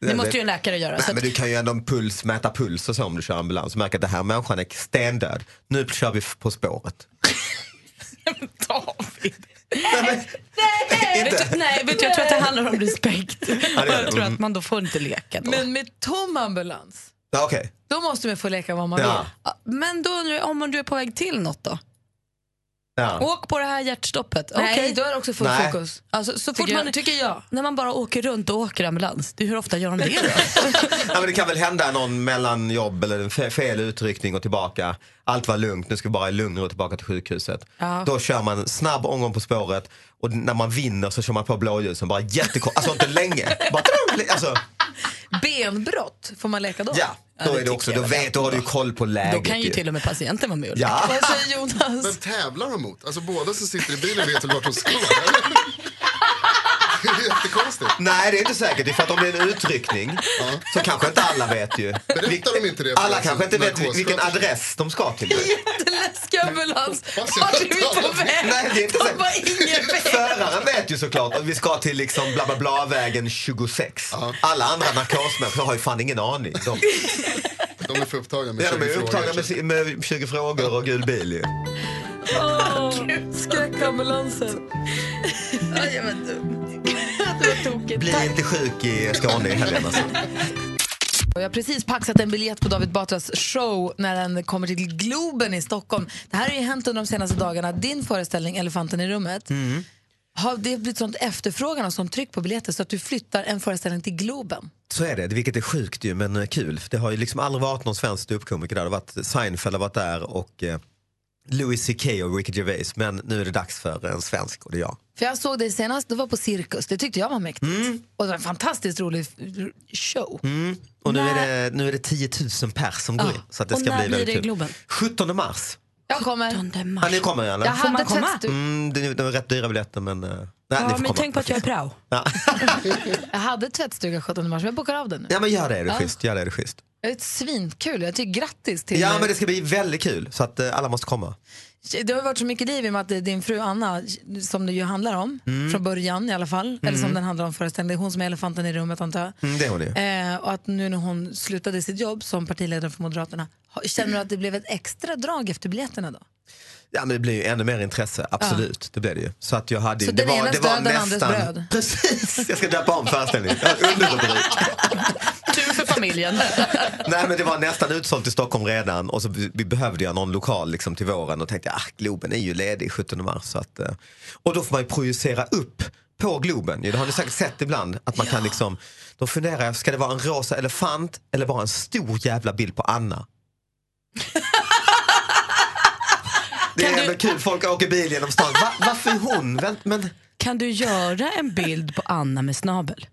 [SPEAKER 2] Det måste ju en läkare göra.
[SPEAKER 9] Nej,
[SPEAKER 2] så att-
[SPEAKER 9] men du kan ju ändå puls, mäta puls och så om du kör ambulans och märka att det här människan är stendöd. Nu kör vi f- På spåret.
[SPEAKER 2] Nej, vet du, nej, vet du, jag tror att det handlar om respekt.
[SPEAKER 9] Ja, det gör det.
[SPEAKER 2] jag tror att man då får inte leka då.
[SPEAKER 5] Men med tom ambulans,
[SPEAKER 9] Ja, Okej.
[SPEAKER 5] då måste man få leka vad man
[SPEAKER 9] Ja.
[SPEAKER 5] vill.
[SPEAKER 2] Men då undrar jag om du är på väg till något då?
[SPEAKER 9] Ja.
[SPEAKER 2] Åk på det här hjärtstoppet.
[SPEAKER 5] Nej,
[SPEAKER 2] Okej.
[SPEAKER 5] då är det också full
[SPEAKER 9] Nej.
[SPEAKER 5] fokus.
[SPEAKER 2] Alltså, så fort
[SPEAKER 5] Tycker jag-
[SPEAKER 2] man,
[SPEAKER 5] tycker jag.
[SPEAKER 2] När man bara åker runt och åker ambulans, det, hur ofta gör de det då?
[SPEAKER 9] Ja, men det kan väl hända någon mellanjobb eller en fe- fel utryckning och tillbaka. Allt var lugnt, nu ska vi bara i lugn och ro tillbaka till sjukhuset.
[SPEAKER 2] Ja.
[SPEAKER 9] Då kör man snabb omgång på spåret och när man vinner så kör man på blåljusen bara jättekort, alltså inte länge. Bara, alltså,
[SPEAKER 5] Benbrott, får man leka då?
[SPEAKER 9] ja, då är det också, då vet du, har du ju koll på läget.
[SPEAKER 2] Då kan ju till och med patienten vara med och
[SPEAKER 9] Ja.
[SPEAKER 5] Vad säger Jonas?
[SPEAKER 23] Vem tävlar de mot? Alltså båda som sitter i bilen vet väl vart de ska? Det är jättekonstigt.
[SPEAKER 9] Nej det är inte säkert, det är för att om det är en utryckning så kanske inte alla vet ju.
[SPEAKER 23] Berättar de inte det? för
[SPEAKER 9] Alla
[SPEAKER 23] den
[SPEAKER 9] kanske inte
[SPEAKER 23] som
[SPEAKER 9] vet vilken
[SPEAKER 23] narkossköterska?
[SPEAKER 9] adress de ska till.
[SPEAKER 5] Jätteläskig ambulans.
[SPEAKER 9] Alltså,
[SPEAKER 23] Hoppas jag
[SPEAKER 5] Vart är
[SPEAKER 23] inte
[SPEAKER 5] vi på
[SPEAKER 23] alla vet.
[SPEAKER 5] väg?
[SPEAKER 9] Nej, det är inte
[SPEAKER 5] De
[SPEAKER 9] säkert.
[SPEAKER 5] har ingen väg.
[SPEAKER 9] Föraren vet ju såklart att vi ska till liksom bla bla bla vägen 26. Alla andra narkosmänniskor har ju fan ingen aning. De,
[SPEAKER 23] De är för upptagna med
[SPEAKER 9] ja,
[SPEAKER 23] 20
[SPEAKER 9] de är ju upptagna
[SPEAKER 23] frågor.
[SPEAKER 9] med, med 20 frågor och gul bil ju.
[SPEAKER 5] Skräckambulansen. mycket.
[SPEAKER 2] Bli inte sjuk i Skåne i helgen alltså.
[SPEAKER 5] Och Jag har precis paxat en biljett på David Batras show när den kommer till Globen i Stockholm. Det här har ju hänt under de senaste dagarna. Din föreställning Elefanten i rummet har det blivit sånt efterfrågan och sånt tryck på biljetter så att du flyttar en föreställning till Globen.
[SPEAKER 2] Så är det, vilket är sjukt ju men eh, kul. För Det har ju liksom aldrig varit någon svensk ståuppkomiker där. Det har varit Seinfeld har varit där och eh, Louis CK och Ricky Gervais. Men nu är det dags för en svensk och det är jag.
[SPEAKER 5] För jag såg dig senast, du var på Cirkus. Det tyckte jag var mäktigt. Och det var en fantastiskt rolig f- show.
[SPEAKER 2] Mm. Och nu är, det, nu är det 10 000 pers som går in. Så att det
[SPEAKER 5] Och
[SPEAKER 2] ska
[SPEAKER 5] när
[SPEAKER 2] bli
[SPEAKER 5] blir
[SPEAKER 2] väldigt
[SPEAKER 5] det i
[SPEAKER 2] kul.
[SPEAKER 5] Globen?
[SPEAKER 2] 17 mars.
[SPEAKER 5] Jag kommer.
[SPEAKER 2] Ja, ni kommer eller?
[SPEAKER 5] Jag hade Får man komma? sett-
[SPEAKER 2] Mm, det, det var rätt dyra biljetter men... eh, Nej, ni får komma.
[SPEAKER 5] prao.
[SPEAKER 2] Ja.
[SPEAKER 5] jag hade tvättstuga 17 mars, men jag bokar av den nu.
[SPEAKER 2] ja men gör det, är det är schysst. Gör det, är det är schysst.
[SPEAKER 5] Det är svinkul. Jag tycker grattis till
[SPEAKER 2] Ja men det ska bli väldigt kul så att eh, alla måste komma.
[SPEAKER 5] Det har ju varit så mycket liv i och med att det är din fru Anna, som det ju handlar om,
[SPEAKER 2] Mm.
[SPEAKER 5] från början i alla fall, eller som
[SPEAKER 2] Mm.
[SPEAKER 5] den handlar om föreställningen, det är hon som är elefanten i rummet antar jag.
[SPEAKER 2] Mm, det är hon ju.
[SPEAKER 5] Eh, och att nu när hon slutade sitt jobb som partiledare för Moderaterna, ha- känner du att det blev ett extra drag efter biljetterna då?
[SPEAKER 2] Ja men det blir ju ännu mer intresse, absolut. Det blir det ju. Så att jag hade ju,
[SPEAKER 5] Så
[SPEAKER 2] det
[SPEAKER 5] den
[SPEAKER 2] var,
[SPEAKER 5] enes
[SPEAKER 2] det var
[SPEAKER 5] död, den andres
[SPEAKER 2] nästan...
[SPEAKER 5] bröd.
[SPEAKER 2] Precis, jag ska döpa om föreställningen. Jag har en Underrubrik.
[SPEAKER 24] Tur för familjen.
[SPEAKER 2] Nej men det var nästan utsålt i Stockholm redan och så vi vi behövde jag någon lokal liksom till våren och tänkte ah Globen är ju ledig 17 mars. Så att, eh, och då får man ju projicera upp på Globen. ju. Det har ni säkert sett ibland. Att man kan liksom, då funderar jag, ska det vara en rosa elefant eller bara en stor jävla bild på Anna? Det är ändå kul, folk åker bil genom stan. Va, varför är hon? Vänt, men,
[SPEAKER 24] Kan du göra en bild på Anna med snabel?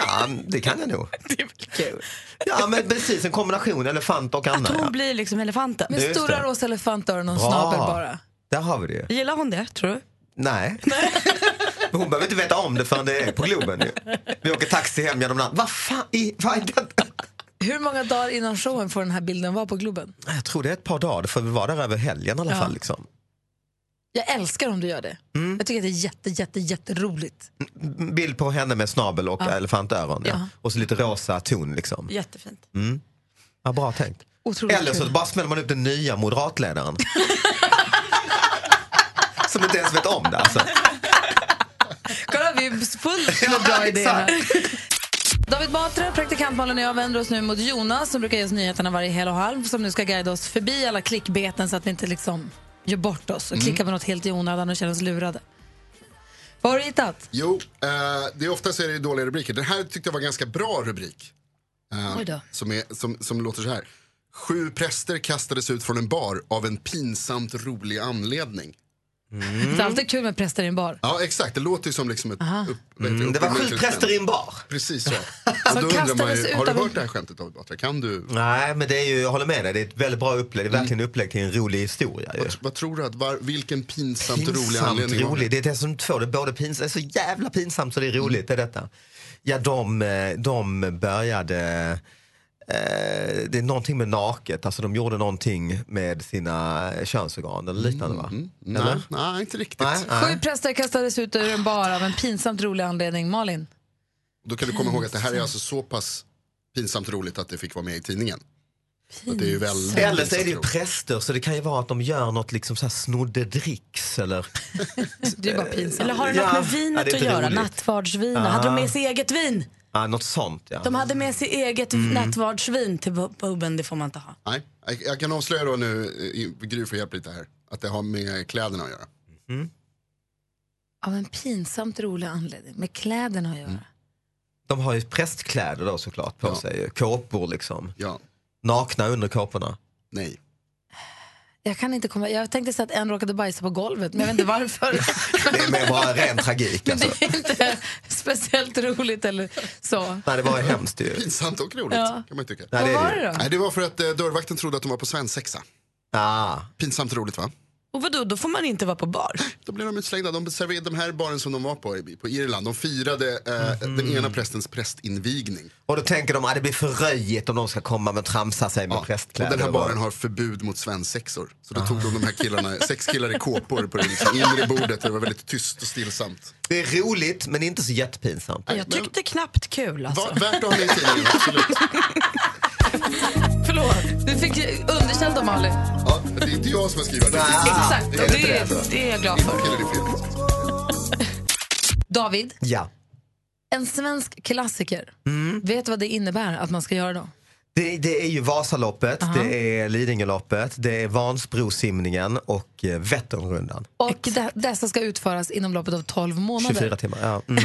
[SPEAKER 2] ja, det kan jag nog. Ja men precis, en kombination elefant och Anna.
[SPEAKER 24] Att
[SPEAKER 2] ja.
[SPEAKER 24] hon blir liksom elefanten.
[SPEAKER 2] Med Just stora det.
[SPEAKER 5] rosa elefantöron
[SPEAKER 2] Bra. Där har vi det ju.
[SPEAKER 24] Gillar hon det, tror du?
[SPEAKER 2] Nej. Men hon behöver inte veta om det förrän det är på Globen ju. Vi åker taxi hem genom landet. Vad fan i, vad är det?
[SPEAKER 5] Hur många dagar innan showen får den här bilden vara på Globen?
[SPEAKER 2] Jag tror det är ett par dagar, det får vi vara där över helgen i alla
[SPEAKER 5] Ja.
[SPEAKER 2] fall. Liksom.
[SPEAKER 5] Jag älskar om du gör det.
[SPEAKER 2] Mm.
[SPEAKER 5] Jag tycker att det är jätte, jätte, jätteroligt.
[SPEAKER 2] M- Bild på henne med snabel och
[SPEAKER 5] Ja.
[SPEAKER 2] elefantöron. Ja.
[SPEAKER 5] Ja.
[SPEAKER 2] Och så lite rosa ton liksom.
[SPEAKER 24] Jättefint.
[SPEAKER 2] Mm. Ja, bra tänkt.
[SPEAKER 5] Otroligt
[SPEAKER 2] Eller så
[SPEAKER 5] kul.
[SPEAKER 2] bara smäller man upp den nya moderatledaren. Som inte ens vet om det alltså.
[SPEAKER 5] Kolla, vi är fullt med bra idéer här. David Batra, praktikant Malin och jag vänder oss nu mot Jonas som brukar ge oss nyheterna varje hel och halv som nu ska guida oss förbi alla klickbeten så att vi inte liksom gör bort oss och
[SPEAKER 9] Mm.
[SPEAKER 5] klickar på något helt i onödan och känner oss lurade. Vad har du hittat?
[SPEAKER 9] Jo, eh, det är oftast är det dåliga rubriker. Den här tyckte jag var en ganska bra rubrik. Eh,
[SPEAKER 5] Oj då.
[SPEAKER 2] Mm.
[SPEAKER 9] Som, är, som, som låter så här. Sju präster kastades ut från en bar av en pinsamt rolig anledning.
[SPEAKER 5] Det är alltid kul med präster i en bar.
[SPEAKER 9] Ja, exakt. Det låter ju som liksom ett...
[SPEAKER 5] Aha.
[SPEAKER 9] Upp, vad heter
[SPEAKER 2] Mm, det var sju
[SPEAKER 9] uppmärkligt
[SPEAKER 2] präster i en
[SPEAKER 9] skämt.
[SPEAKER 2] bar.
[SPEAKER 9] Precis så. Och då undrar man
[SPEAKER 5] kastades
[SPEAKER 9] ju,
[SPEAKER 5] ut
[SPEAKER 9] har du
[SPEAKER 5] av en-
[SPEAKER 9] hört det här skämtet David Batra? Kan du?
[SPEAKER 2] Nej men det är ju, jag håller med dig, det är ett väldigt bra upplägg. Det är verkligen upplägg till en rolig historia ju.
[SPEAKER 9] Vad, vad tror du? Att, var, vilken pinsamt, rolig
[SPEAKER 2] Pinsamt
[SPEAKER 9] anledning var
[SPEAKER 2] rolig. Det är det som två, det är både pinsamt, det är så jävla pinsamt så det är roligt. Det är detta. Ja, de, eh, de började, eh, det är någonting med naket, alltså de gjorde någonting med sina könsorgan eller liknande va?
[SPEAKER 9] Mm, Nej, nej, inte riktigt.
[SPEAKER 2] Nej, nej.
[SPEAKER 5] Sju präster kastades ut ur en bar av en pinsamt rolig anledning. Malin?
[SPEAKER 9] Då kan du komma ihåg att det här är alltså så pass pinsamt roligt att det fick vara med i tidningen. Att det är ju väldigt
[SPEAKER 2] Eller så är det ju
[SPEAKER 9] pinsamt
[SPEAKER 2] präster så det kan ju vara att de gör något liksom så här snodde dricks eller
[SPEAKER 5] Det är bara pinsamt.
[SPEAKER 24] Eller har det något
[SPEAKER 2] Ja.
[SPEAKER 24] med
[SPEAKER 2] Ja,
[SPEAKER 24] vinet
[SPEAKER 2] det är
[SPEAKER 24] att
[SPEAKER 2] inte
[SPEAKER 24] göra?
[SPEAKER 2] roligt.
[SPEAKER 24] Nattvardsvin? Hade de
[SPEAKER 2] Ah.
[SPEAKER 24] med sig eget vin?
[SPEAKER 2] ja, något sånt ja.
[SPEAKER 24] De hade med sig eget
[SPEAKER 9] Mm.
[SPEAKER 24] nattvardsvin till bu- puben, det får man inte ha.
[SPEAKER 9] Nej, jag, jag kan avslöja då nu, eh, i- Gry får hjälpa lite här, att det har med kläderna att göra.
[SPEAKER 5] Av en pinsamt rolig anledning. Med kläderna att göra.
[SPEAKER 2] De har ju prästkläder då såklart på sig, eh, kåpor liksom.
[SPEAKER 9] Ja.
[SPEAKER 2] Nakna under kåporna.
[SPEAKER 9] Nej.
[SPEAKER 5] Jag kan inte komma... Jag tänkte säga att en råkade bajsa på golvet, men jag vet inte varför.
[SPEAKER 2] Det är mer bara ren tragik alltså.
[SPEAKER 5] Det är inte speciellt roligt eller så.
[SPEAKER 2] Nej, det var hemskt ju.
[SPEAKER 9] Pinsamt och roligt
[SPEAKER 5] Ja.
[SPEAKER 9] kan man ju tycka.
[SPEAKER 5] Vad Nej, det är var det ju. det då?
[SPEAKER 9] Nej, det var för att eh, dörrvakten trodde att de var på svensexa.
[SPEAKER 2] Ah.
[SPEAKER 9] Pinsamt roligt va?
[SPEAKER 24] Och vadå, då får man inte vara på bar?
[SPEAKER 9] Då blev de utslängda. De serverade den här baren som de var på i- på Irland. De firade eh, den ena prästens prästinvigning.
[SPEAKER 2] Och då tänker de att det blir för röjigt om de ska komma och tramsa sig med
[SPEAKER 9] Och
[SPEAKER 2] prästkläder.
[SPEAKER 9] den här
[SPEAKER 2] bara.
[SPEAKER 9] baren har förbud mot svensexor. Så då tog de de här killarna, sex killar i kåpor på det liksom inre bordet där det var väldigt tyst och stillsamt.
[SPEAKER 2] Det är roligt men inte så jättepinsamt.
[SPEAKER 24] Jag tyckte knappt kul alltså.
[SPEAKER 9] Va- värt att ha med i tidningen, absolut.
[SPEAKER 5] Förlåt. Du fick ju underkänt av Malin.
[SPEAKER 2] Ah,
[SPEAKER 9] Ja, det är inte jag som har skrivit det.
[SPEAKER 5] Exakt, och det,
[SPEAKER 2] alltså.
[SPEAKER 9] inte
[SPEAKER 5] det är jag glad för.
[SPEAKER 9] Eller det är fel.
[SPEAKER 5] David,
[SPEAKER 2] Ja.
[SPEAKER 5] En svensk klassiker.
[SPEAKER 9] Mm.
[SPEAKER 5] Vet du vad det innebär att man ska göra då?
[SPEAKER 9] Det, det är ju Vasaloppet,
[SPEAKER 5] Aha.
[SPEAKER 9] det är Lidingöloppet, det är Vansbrosimningen och eh, Vätternrundan.
[SPEAKER 5] Och de, dessa ska utföras inom loppet av 12 månader.
[SPEAKER 9] 24 timmar. Ja. Mm.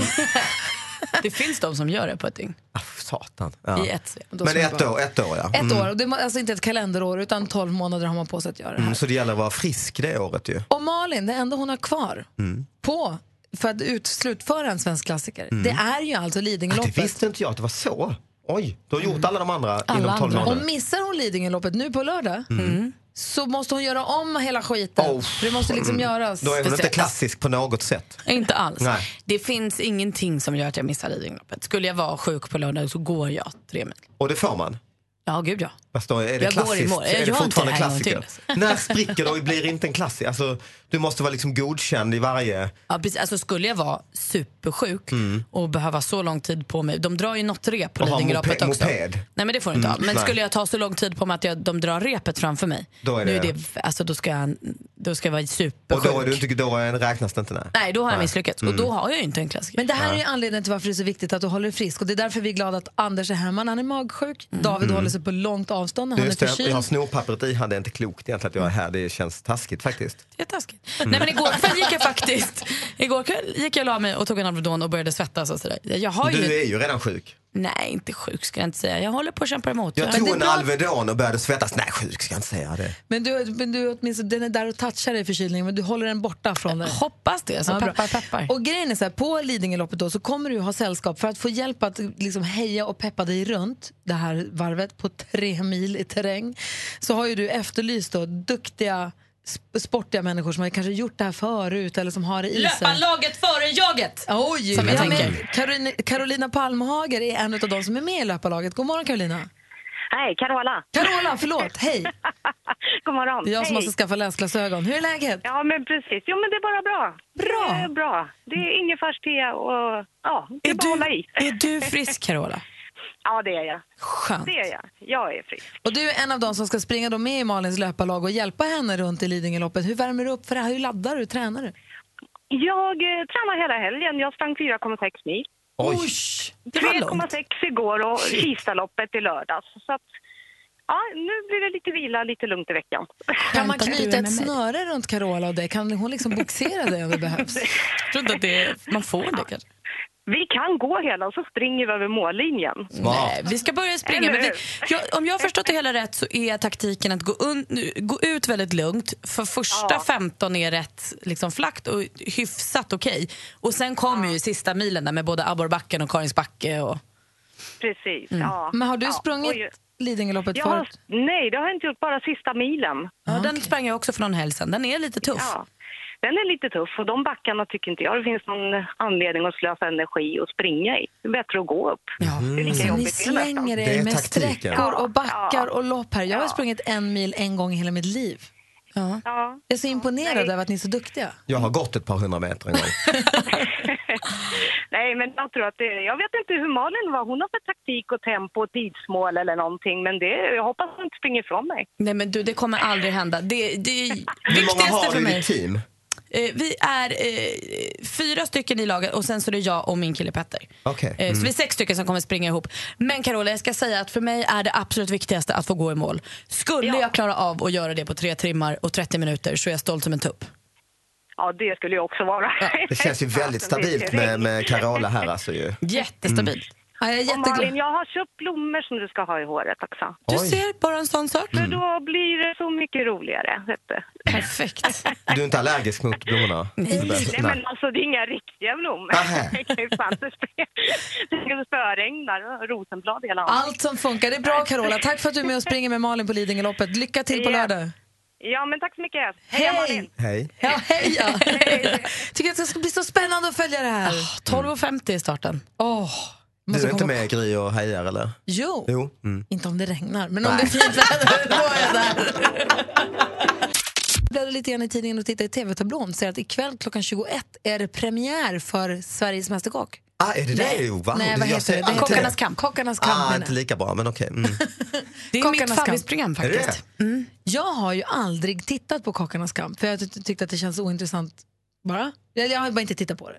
[SPEAKER 5] Det finns de som gör det på ett dygn.
[SPEAKER 9] Satan. Ja.
[SPEAKER 5] I ett, då
[SPEAKER 9] Men
[SPEAKER 5] ska
[SPEAKER 9] ett
[SPEAKER 5] man bara-
[SPEAKER 9] år, ett år ja.
[SPEAKER 5] Ett
[SPEAKER 9] Mm.
[SPEAKER 5] år, och det är alltså inte ett kalenderår utan 12 månader har man på sig att göra det här.
[SPEAKER 9] Mm, så det gäller att vara frisk det året ju.
[SPEAKER 5] Och Malin, det enda hon har kvar
[SPEAKER 9] Mm.
[SPEAKER 5] på för att ut, slutföra en svensk klassiker,
[SPEAKER 9] Mm.
[SPEAKER 5] det är ju alltså
[SPEAKER 9] Ah, det
[SPEAKER 5] Lidingöloppet.
[SPEAKER 9] visste inte jag att det var så. Oj, du har gjort alla de andra
[SPEAKER 5] Alla
[SPEAKER 9] inom 12
[SPEAKER 5] andra. Och
[SPEAKER 9] månader.
[SPEAKER 5] missar hon Lidingöloppet nu på lördag
[SPEAKER 9] Mm. Oh.
[SPEAKER 5] så måste hon göra om hela skiten. För det måste liksom göras.
[SPEAKER 9] Mm. Då är hon inte klassisk på något sätt.
[SPEAKER 2] Inte alls.
[SPEAKER 9] Nej.
[SPEAKER 2] Det finns ingenting som gör att jag missar Lidingöloppet. Skulle jag vara sjuk på lördag så går jag tre mil.
[SPEAKER 9] Och det får man.
[SPEAKER 2] Ja, gud ja.
[SPEAKER 9] Fast då är det
[SPEAKER 2] Jag går i
[SPEAKER 9] klassiskt,
[SPEAKER 2] mål. Jag
[SPEAKER 9] är
[SPEAKER 2] gör
[SPEAKER 9] det
[SPEAKER 2] inte
[SPEAKER 9] fortfarande
[SPEAKER 2] det här en gång alltså.
[SPEAKER 9] klassiker. När spricker det och blir inte en klassiker? Alltså, du måste vara liksom godkänd i varje...
[SPEAKER 2] ja precis. Alltså, skulle jag vara supersjuk
[SPEAKER 9] Mm.
[SPEAKER 2] och behöva så lång tid på mig. De drar ju något rep på
[SPEAKER 9] Och ha
[SPEAKER 2] Lidingöloppet
[SPEAKER 9] mope-
[SPEAKER 2] också.
[SPEAKER 9] moped.
[SPEAKER 2] Nej men det får du inte
[SPEAKER 9] Mm,
[SPEAKER 2] ha. Men
[SPEAKER 9] nej.
[SPEAKER 2] skulle jag ta så lång tid på mig att jag, de drar repet framför mig.
[SPEAKER 9] Då är
[SPEAKER 2] Nu
[SPEAKER 9] det-
[SPEAKER 2] är det alltså, då, ska jag, då ska jag vara
[SPEAKER 9] Och
[SPEAKER 2] supersjuk.
[SPEAKER 9] då, är du inte, då är räknas det inte? Nej.
[SPEAKER 2] Nej, då har jag
[SPEAKER 9] Nej.
[SPEAKER 2] misslyckats.
[SPEAKER 9] Mm.
[SPEAKER 2] Och då har jag ju inte en klassiker.
[SPEAKER 5] Men det här är
[SPEAKER 9] Nej.
[SPEAKER 5] ju anledningen till varför det är så viktigt att du håller dig frisk. Och det är därför vi är glada att Anders är hemma när han är magsjuk. David
[SPEAKER 9] Mm.
[SPEAKER 5] håller sig på långt avstånd när
[SPEAKER 9] Du,
[SPEAKER 5] han är
[SPEAKER 9] just det,
[SPEAKER 5] förkyld.
[SPEAKER 9] jag har snorpappret i hand, det är inte klokt egentligen att jag är här. Det känns taskigt faktiskt.
[SPEAKER 2] Jättetaskigt.
[SPEAKER 9] Mm.
[SPEAKER 2] Nej men igår kväll gick jag faktiskt, igår kväll gick jag och la mig och tog en Alvedon och började svettas och sådär. Jag har ju...
[SPEAKER 9] Du är ju redan sjuk.
[SPEAKER 2] Nej inte sjuk ska jag inte säga, jag håller på att kämpa emot.
[SPEAKER 9] Jag
[SPEAKER 2] Men det
[SPEAKER 9] tog
[SPEAKER 2] är
[SPEAKER 9] en
[SPEAKER 2] bra.
[SPEAKER 9] Alvedon och började svettas. Nej, sjuk ska jag inte säga det.
[SPEAKER 5] Men du, men du åtminstone, den är där och touchar dig i förkylningen men du håller den borta från dig.
[SPEAKER 2] Hoppas det, så peppar, peppar.
[SPEAKER 5] Och grejen är så här, på Lidingöloppet då så kommer du ha sällskap för att få hjälp att liksom heja och peppa dig runt det här varvet på tre mil i terräng. Så har ju du efterlyst då duktiga sp- sportiga människor som har kanske gjort det här förut eller som har det i sig.
[SPEAKER 2] Löparlaget före jaget!
[SPEAKER 5] Oj,
[SPEAKER 2] som jag
[SPEAKER 5] vi har
[SPEAKER 2] tänker.
[SPEAKER 5] med Karolina, Karolina Palmhager är en av de som är med i löparlaget. God morgon Karolina.
[SPEAKER 4] Hej, Carola.
[SPEAKER 5] Carola, förlåt. Hej.
[SPEAKER 4] God morgon.
[SPEAKER 5] Det är jag som
[SPEAKER 4] Hej.
[SPEAKER 5] måste skaffa läsglasögon. Hur är läget?
[SPEAKER 4] Ja, men precis. Jo, men det är bara bra. Bra. Det är bra. Det är ingefärste och ja, det är, bara att hålla i.
[SPEAKER 2] Är du frisk Carola?
[SPEAKER 4] Ja, det är jag.
[SPEAKER 2] Skönt.
[SPEAKER 4] Det är jag. Jag är frisk.
[SPEAKER 5] Och du är en av dem som ska springa då med i Malins löparlag och hjälpa henne runt i Lidingöloppet. Hur värmer du upp för det här? Hur laddar du? Hur tränar du?
[SPEAKER 4] Jag eh, tränar hela helgen. Jag sprang 4,6 mil.
[SPEAKER 9] Oj!
[SPEAKER 4] 3,6 igår och
[SPEAKER 9] Shit.
[SPEAKER 4] Kistaloppet i lördags. Så att, ja, nu blir det lite vila, lite lugnt i veckan.
[SPEAKER 5] Kan man knyta ett snöre runt Carola och det? Kan hon liksom boxera dig om det behövs?
[SPEAKER 2] Jag tror inte att det är, man får det kanske.
[SPEAKER 4] Vi kan gå hela och så springer vi över mållinjen.
[SPEAKER 2] Nej, vi ska börja springa.
[SPEAKER 4] Eller
[SPEAKER 2] Men vi,
[SPEAKER 4] hur?
[SPEAKER 2] jag, om jag har förstått det hela rätt så är taktiken att gå, un, gå ut väldigt lugnt. För första 15 är rätt liksom, flackt och hyfsat okej. Och sen kommer ju sista milen där med både abborrbacken och Karinsbacke. Och...
[SPEAKER 4] Precis.
[SPEAKER 2] Mm.
[SPEAKER 4] Ja.
[SPEAKER 5] Men har du
[SPEAKER 4] ja.
[SPEAKER 5] sprungit
[SPEAKER 4] Oj.
[SPEAKER 5] Lidingöloppet
[SPEAKER 4] Jag har,
[SPEAKER 5] förut?
[SPEAKER 4] nej, det har jag inte gjort. Bara sista milen.
[SPEAKER 2] Ja, Den sprang jag också för någon helg sedan. Den är lite tuff.
[SPEAKER 4] Ja, den är lite tuff och de backarna tycker inte jag det finns någon anledning att slösa energi och springa i. Det är bättre att gå upp.
[SPEAKER 9] Mm.
[SPEAKER 4] Det är lika
[SPEAKER 5] Så ni
[SPEAKER 4] jobbigt det nästan.
[SPEAKER 5] slänger er med sträckor och backar och lopp här. Jag har sprungit en mil en gång i hela mitt liv. Ja. Jag är så imponerad över att ni är så duktiga.
[SPEAKER 9] Jag har gått ett par hundra meter en gång.
[SPEAKER 4] Nej, men jag tror att det, jag vet inte hur Malin var. Hon har för taktik och tempo och tidsmål eller någonting, men det, jag hoppas hon inte springer ifrån mig.
[SPEAKER 2] Nej men du, det kommer aldrig hända. Det, det är
[SPEAKER 9] Hur många
[SPEAKER 2] viktigaste
[SPEAKER 9] har
[SPEAKER 2] för
[SPEAKER 9] du i
[SPEAKER 2] mig.
[SPEAKER 9] ditt team?
[SPEAKER 2] Eh, vi är eh, fyra stycken i laget och sen så är det jag och min kille Petter.
[SPEAKER 9] Okej.
[SPEAKER 2] Eh, Så
[SPEAKER 9] Mm.
[SPEAKER 2] vi är sex stycken som kommer springa ihop. Men Carola, jag ska säga att för mig är det absolut viktigaste att få gå i mål. Skulle jag klara av att göra det på tre timmar och 30 minuter så är jag stolt som en tupp.
[SPEAKER 9] Mm.
[SPEAKER 4] Ja, det skulle jag också vara. Alltså,
[SPEAKER 9] Det känns ju väldigt stabilt med, med Carola här alltså ju.
[SPEAKER 2] Jättestabilt.
[SPEAKER 5] jag är
[SPEAKER 4] Och Malin, jag har köpt blommor som du ska ha i håret också.
[SPEAKER 2] Du ser, bara en sån sak.
[SPEAKER 4] För
[SPEAKER 9] Mm.
[SPEAKER 4] då blir det så mycket roligare. Vet du.
[SPEAKER 2] Perfekt.
[SPEAKER 9] Du är inte allergisk mot blommorna?
[SPEAKER 4] Nej, men alltså det är inga riktiga blommor. Det kan ju fan inte spela. Det ska spöregna och rosenblad hela
[SPEAKER 5] Allt som funkar. Det är bra Carola. Tack för att du är med och springer med Malin på Lidingöloppet. Lycka till på
[SPEAKER 4] Ja.
[SPEAKER 5] lördag.
[SPEAKER 4] Ja, men tack så mycket.
[SPEAKER 5] Hej!
[SPEAKER 9] Hej.
[SPEAKER 5] Ja, hej ja. Tycker att det ska bli så spännande att följa det här.
[SPEAKER 2] 12.50 är starten.
[SPEAKER 5] Åh,
[SPEAKER 9] Ah, mm. Du är inte med Gry och hejar eller?
[SPEAKER 5] Jo.
[SPEAKER 9] Jo. Mm.
[SPEAKER 5] Inte om det regnar, men om det är fint väder, då är jag där. Jag bläddrade lite grann i tidningen och tittade i tv-tablån och ser att ikväll klockan 21 är det premiär för Sveriges Mästerkock.
[SPEAKER 9] Ah, är det
[SPEAKER 5] Nej.
[SPEAKER 9] det? Jo, wow.
[SPEAKER 5] Nej, vad
[SPEAKER 9] Jag
[SPEAKER 5] heter
[SPEAKER 9] ser
[SPEAKER 5] det? det?
[SPEAKER 9] alltid
[SPEAKER 5] Kockarnas kamp. Kockarnas kamp
[SPEAKER 9] Ah,
[SPEAKER 5] menar
[SPEAKER 9] inte lika bra, men okej. Mm.
[SPEAKER 2] Det är mitt favoritprogram
[SPEAKER 9] Är det
[SPEAKER 2] faktiskt.
[SPEAKER 5] Mm. Jag har ju aldrig tittat på Kockarnas kamp för jag ty- tyckte att det känns
[SPEAKER 25] Mm.
[SPEAKER 5] ointressant bara. Jag, jag har bara inte tittat på det.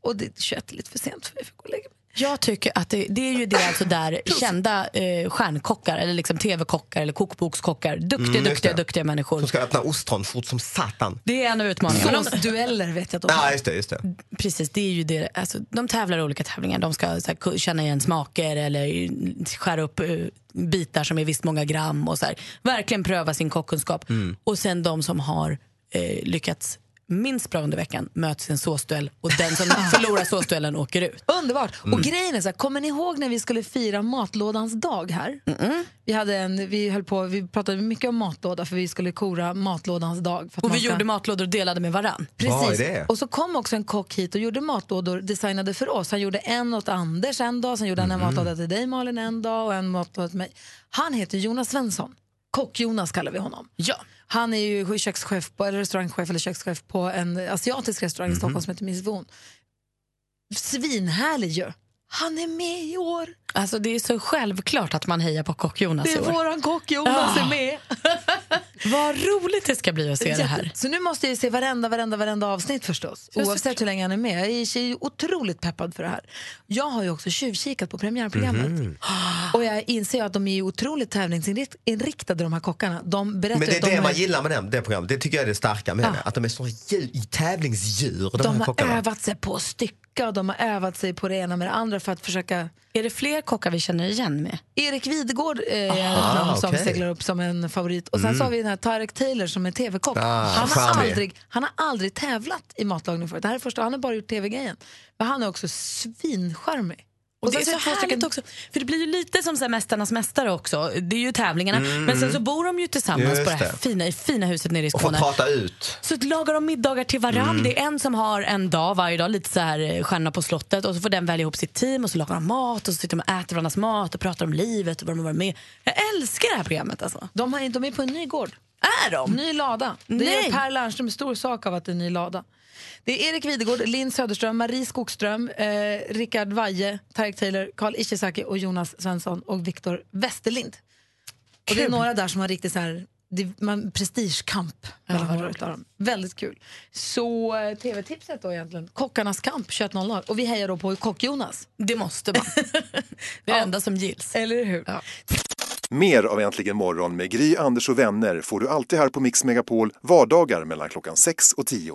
[SPEAKER 5] Och det 21 är lite för sent för mig för att gå och lägga mig. Jag tycker att det, det är ju det alltså där kända eh, stjärnkockar eller liksom tv-kockar eller kokbokskockar, duktiga,
[SPEAKER 25] Mm, just
[SPEAKER 5] duktiga,
[SPEAKER 25] det.
[SPEAKER 5] duktiga människor.
[SPEAKER 25] Som ska öppna ostron fort som satan.
[SPEAKER 5] Det är en av utmaningarna. Såsdueller vet jag att de
[SPEAKER 2] Ah,
[SPEAKER 25] Ja, just det, just det.
[SPEAKER 5] Precis, det är ju det. Alltså, de tävlar i olika tävlingar. De ska så här, ku- känna igen smaker eller skära upp eh, bitar som är visst många gram. Och, så här. Verkligen pröva sin kockkunskap.
[SPEAKER 25] Mm.
[SPEAKER 5] Och sen de som har eh, lyckats minst bra under veckan möts i en såsduell och den som förlorar såsduellen åker ut.
[SPEAKER 2] Underbart!
[SPEAKER 5] Mm.
[SPEAKER 2] Och grejen är så här, kommer ni ihåg när vi skulle fira matlådans dag här? Vi, hade en, vi, höll på, vi pratade mycket om matlåda för vi skulle kora matlådans dag. För att
[SPEAKER 5] Och
[SPEAKER 2] man
[SPEAKER 5] vi
[SPEAKER 2] ska-
[SPEAKER 5] gjorde matlådor och delade med varann.
[SPEAKER 2] Precis. Och så kom också en kock hit och gjorde matlådor designade för oss. Han gjorde en åt Anders en dag, sen gjorde han en
[SPEAKER 5] Mhm.
[SPEAKER 2] matlåda till dig Malin en dag och en matlåda till mig. Han heter Jonas Svensson. Kock-Jonas kallar vi honom.
[SPEAKER 5] Ja.
[SPEAKER 2] Han är ju kökschef på, eller restaurangchef eller kökschef på en asiatisk restaurang
[SPEAKER 25] Mhm.
[SPEAKER 2] i Stockholm som heter Miss Von. Svinhärlig ju. Han är med i år.
[SPEAKER 5] Alltså det är så självklart att man hejar på kock-Jonas
[SPEAKER 2] Det
[SPEAKER 5] i
[SPEAKER 2] är
[SPEAKER 5] år.
[SPEAKER 2] våran kock Jonas
[SPEAKER 5] Ja.
[SPEAKER 25] Ah,
[SPEAKER 2] är med.
[SPEAKER 5] Vad roligt det ska bli att se det här.
[SPEAKER 2] Så nu måste jag ju se varenda, varenda, varenda avsnitt förstås.
[SPEAKER 5] Ja,
[SPEAKER 2] oavsett hur länge han är med. Jag är ju otroligt peppad för det här. Jag har ju också tjuvkikat på premiärprogrammet.
[SPEAKER 25] Mhm.
[SPEAKER 2] Och jag inser ju att de är ju otroligt tävlingsinriktade de här kockarna. De berättar
[SPEAKER 25] Men det
[SPEAKER 2] att
[SPEAKER 25] är
[SPEAKER 2] de
[SPEAKER 25] det man
[SPEAKER 2] har-
[SPEAKER 25] gillar med den, det programmet. Det tycker jag är det starka med
[SPEAKER 2] Ja.
[SPEAKER 25] det. Att de är såna djur, tävlingsdjur, de,
[SPEAKER 2] De
[SPEAKER 25] här
[SPEAKER 2] har
[SPEAKER 25] kockarna.
[SPEAKER 2] övat sig på att stycka och de har övat sig på det ena med det andra för att försöka...
[SPEAKER 5] Är det fler kockar vi känner igen med?
[SPEAKER 2] Erik Videgård eh, är
[SPEAKER 5] Ah,
[SPEAKER 2] ett namn som
[SPEAKER 5] okej.
[SPEAKER 2] seglar upp som en favorit. Och sen
[SPEAKER 5] Mm.
[SPEAKER 2] så har vi den här Tarek Taylor som är tv-kock.
[SPEAKER 5] Ah,
[SPEAKER 2] han, har
[SPEAKER 5] charmig.
[SPEAKER 2] aldrig, han har aldrig tävlat i matlagning förut. Det här är första, han har bara gjort tv-grejen. Men han är också svinskärmig.
[SPEAKER 5] Och det är så härligt också, för det blir ju lite som så här Mästarnas mästare också. Det är ju tävlingarna,
[SPEAKER 25] Mm,
[SPEAKER 5] men sen
[SPEAKER 25] mm.
[SPEAKER 5] så bor de ju tillsammans
[SPEAKER 25] Just
[SPEAKER 5] på det här
[SPEAKER 25] det.
[SPEAKER 5] fina, i fina huset nere i
[SPEAKER 25] Och får
[SPEAKER 5] Skåne.
[SPEAKER 25] prata ut.
[SPEAKER 5] Så lagar de middagar till varann.
[SPEAKER 25] Mm.
[SPEAKER 5] Det är en som har en dag varje dag, lite så här eh, Stjärnorna på slottet. Och så får den välja ihop sitt team och så lagar de mat och så sitter de och äter varandras mat och pratar om livet och vad de har varit med Jag älskar det här programmet alltså.
[SPEAKER 2] De, har, de är på en ny gård.
[SPEAKER 5] Är de?
[SPEAKER 2] Ny lada. Det
[SPEAKER 5] Nej.
[SPEAKER 2] gör Per Lernström en stor sak av att det är en ny lada. Det är Erik Videgård, Linn Söderström, Marie Skogström, eh, Rickard Vaje, Tarek Taylor, Karl Ishizaki och Jonas Svensson och Viktor Westerlind. Och det är
[SPEAKER 5] Kul.
[SPEAKER 2] några där som har riktigt så här, det, man, prestigekamp mellan några utav dem. Väldigt kul. Så eh, tv-tipset då egentligen, Kockarnas kamp 21.00 och vi hejar då på Kock-Jonas.
[SPEAKER 5] Det måste man. det är det enda som gills.
[SPEAKER 2] Eller hur?
[SPEAKER 26] Mer av Äntligen morgon med Gry, Anders och vänner får du alltid här på Mix Megapol vardagar mellan klockan 6 och 10.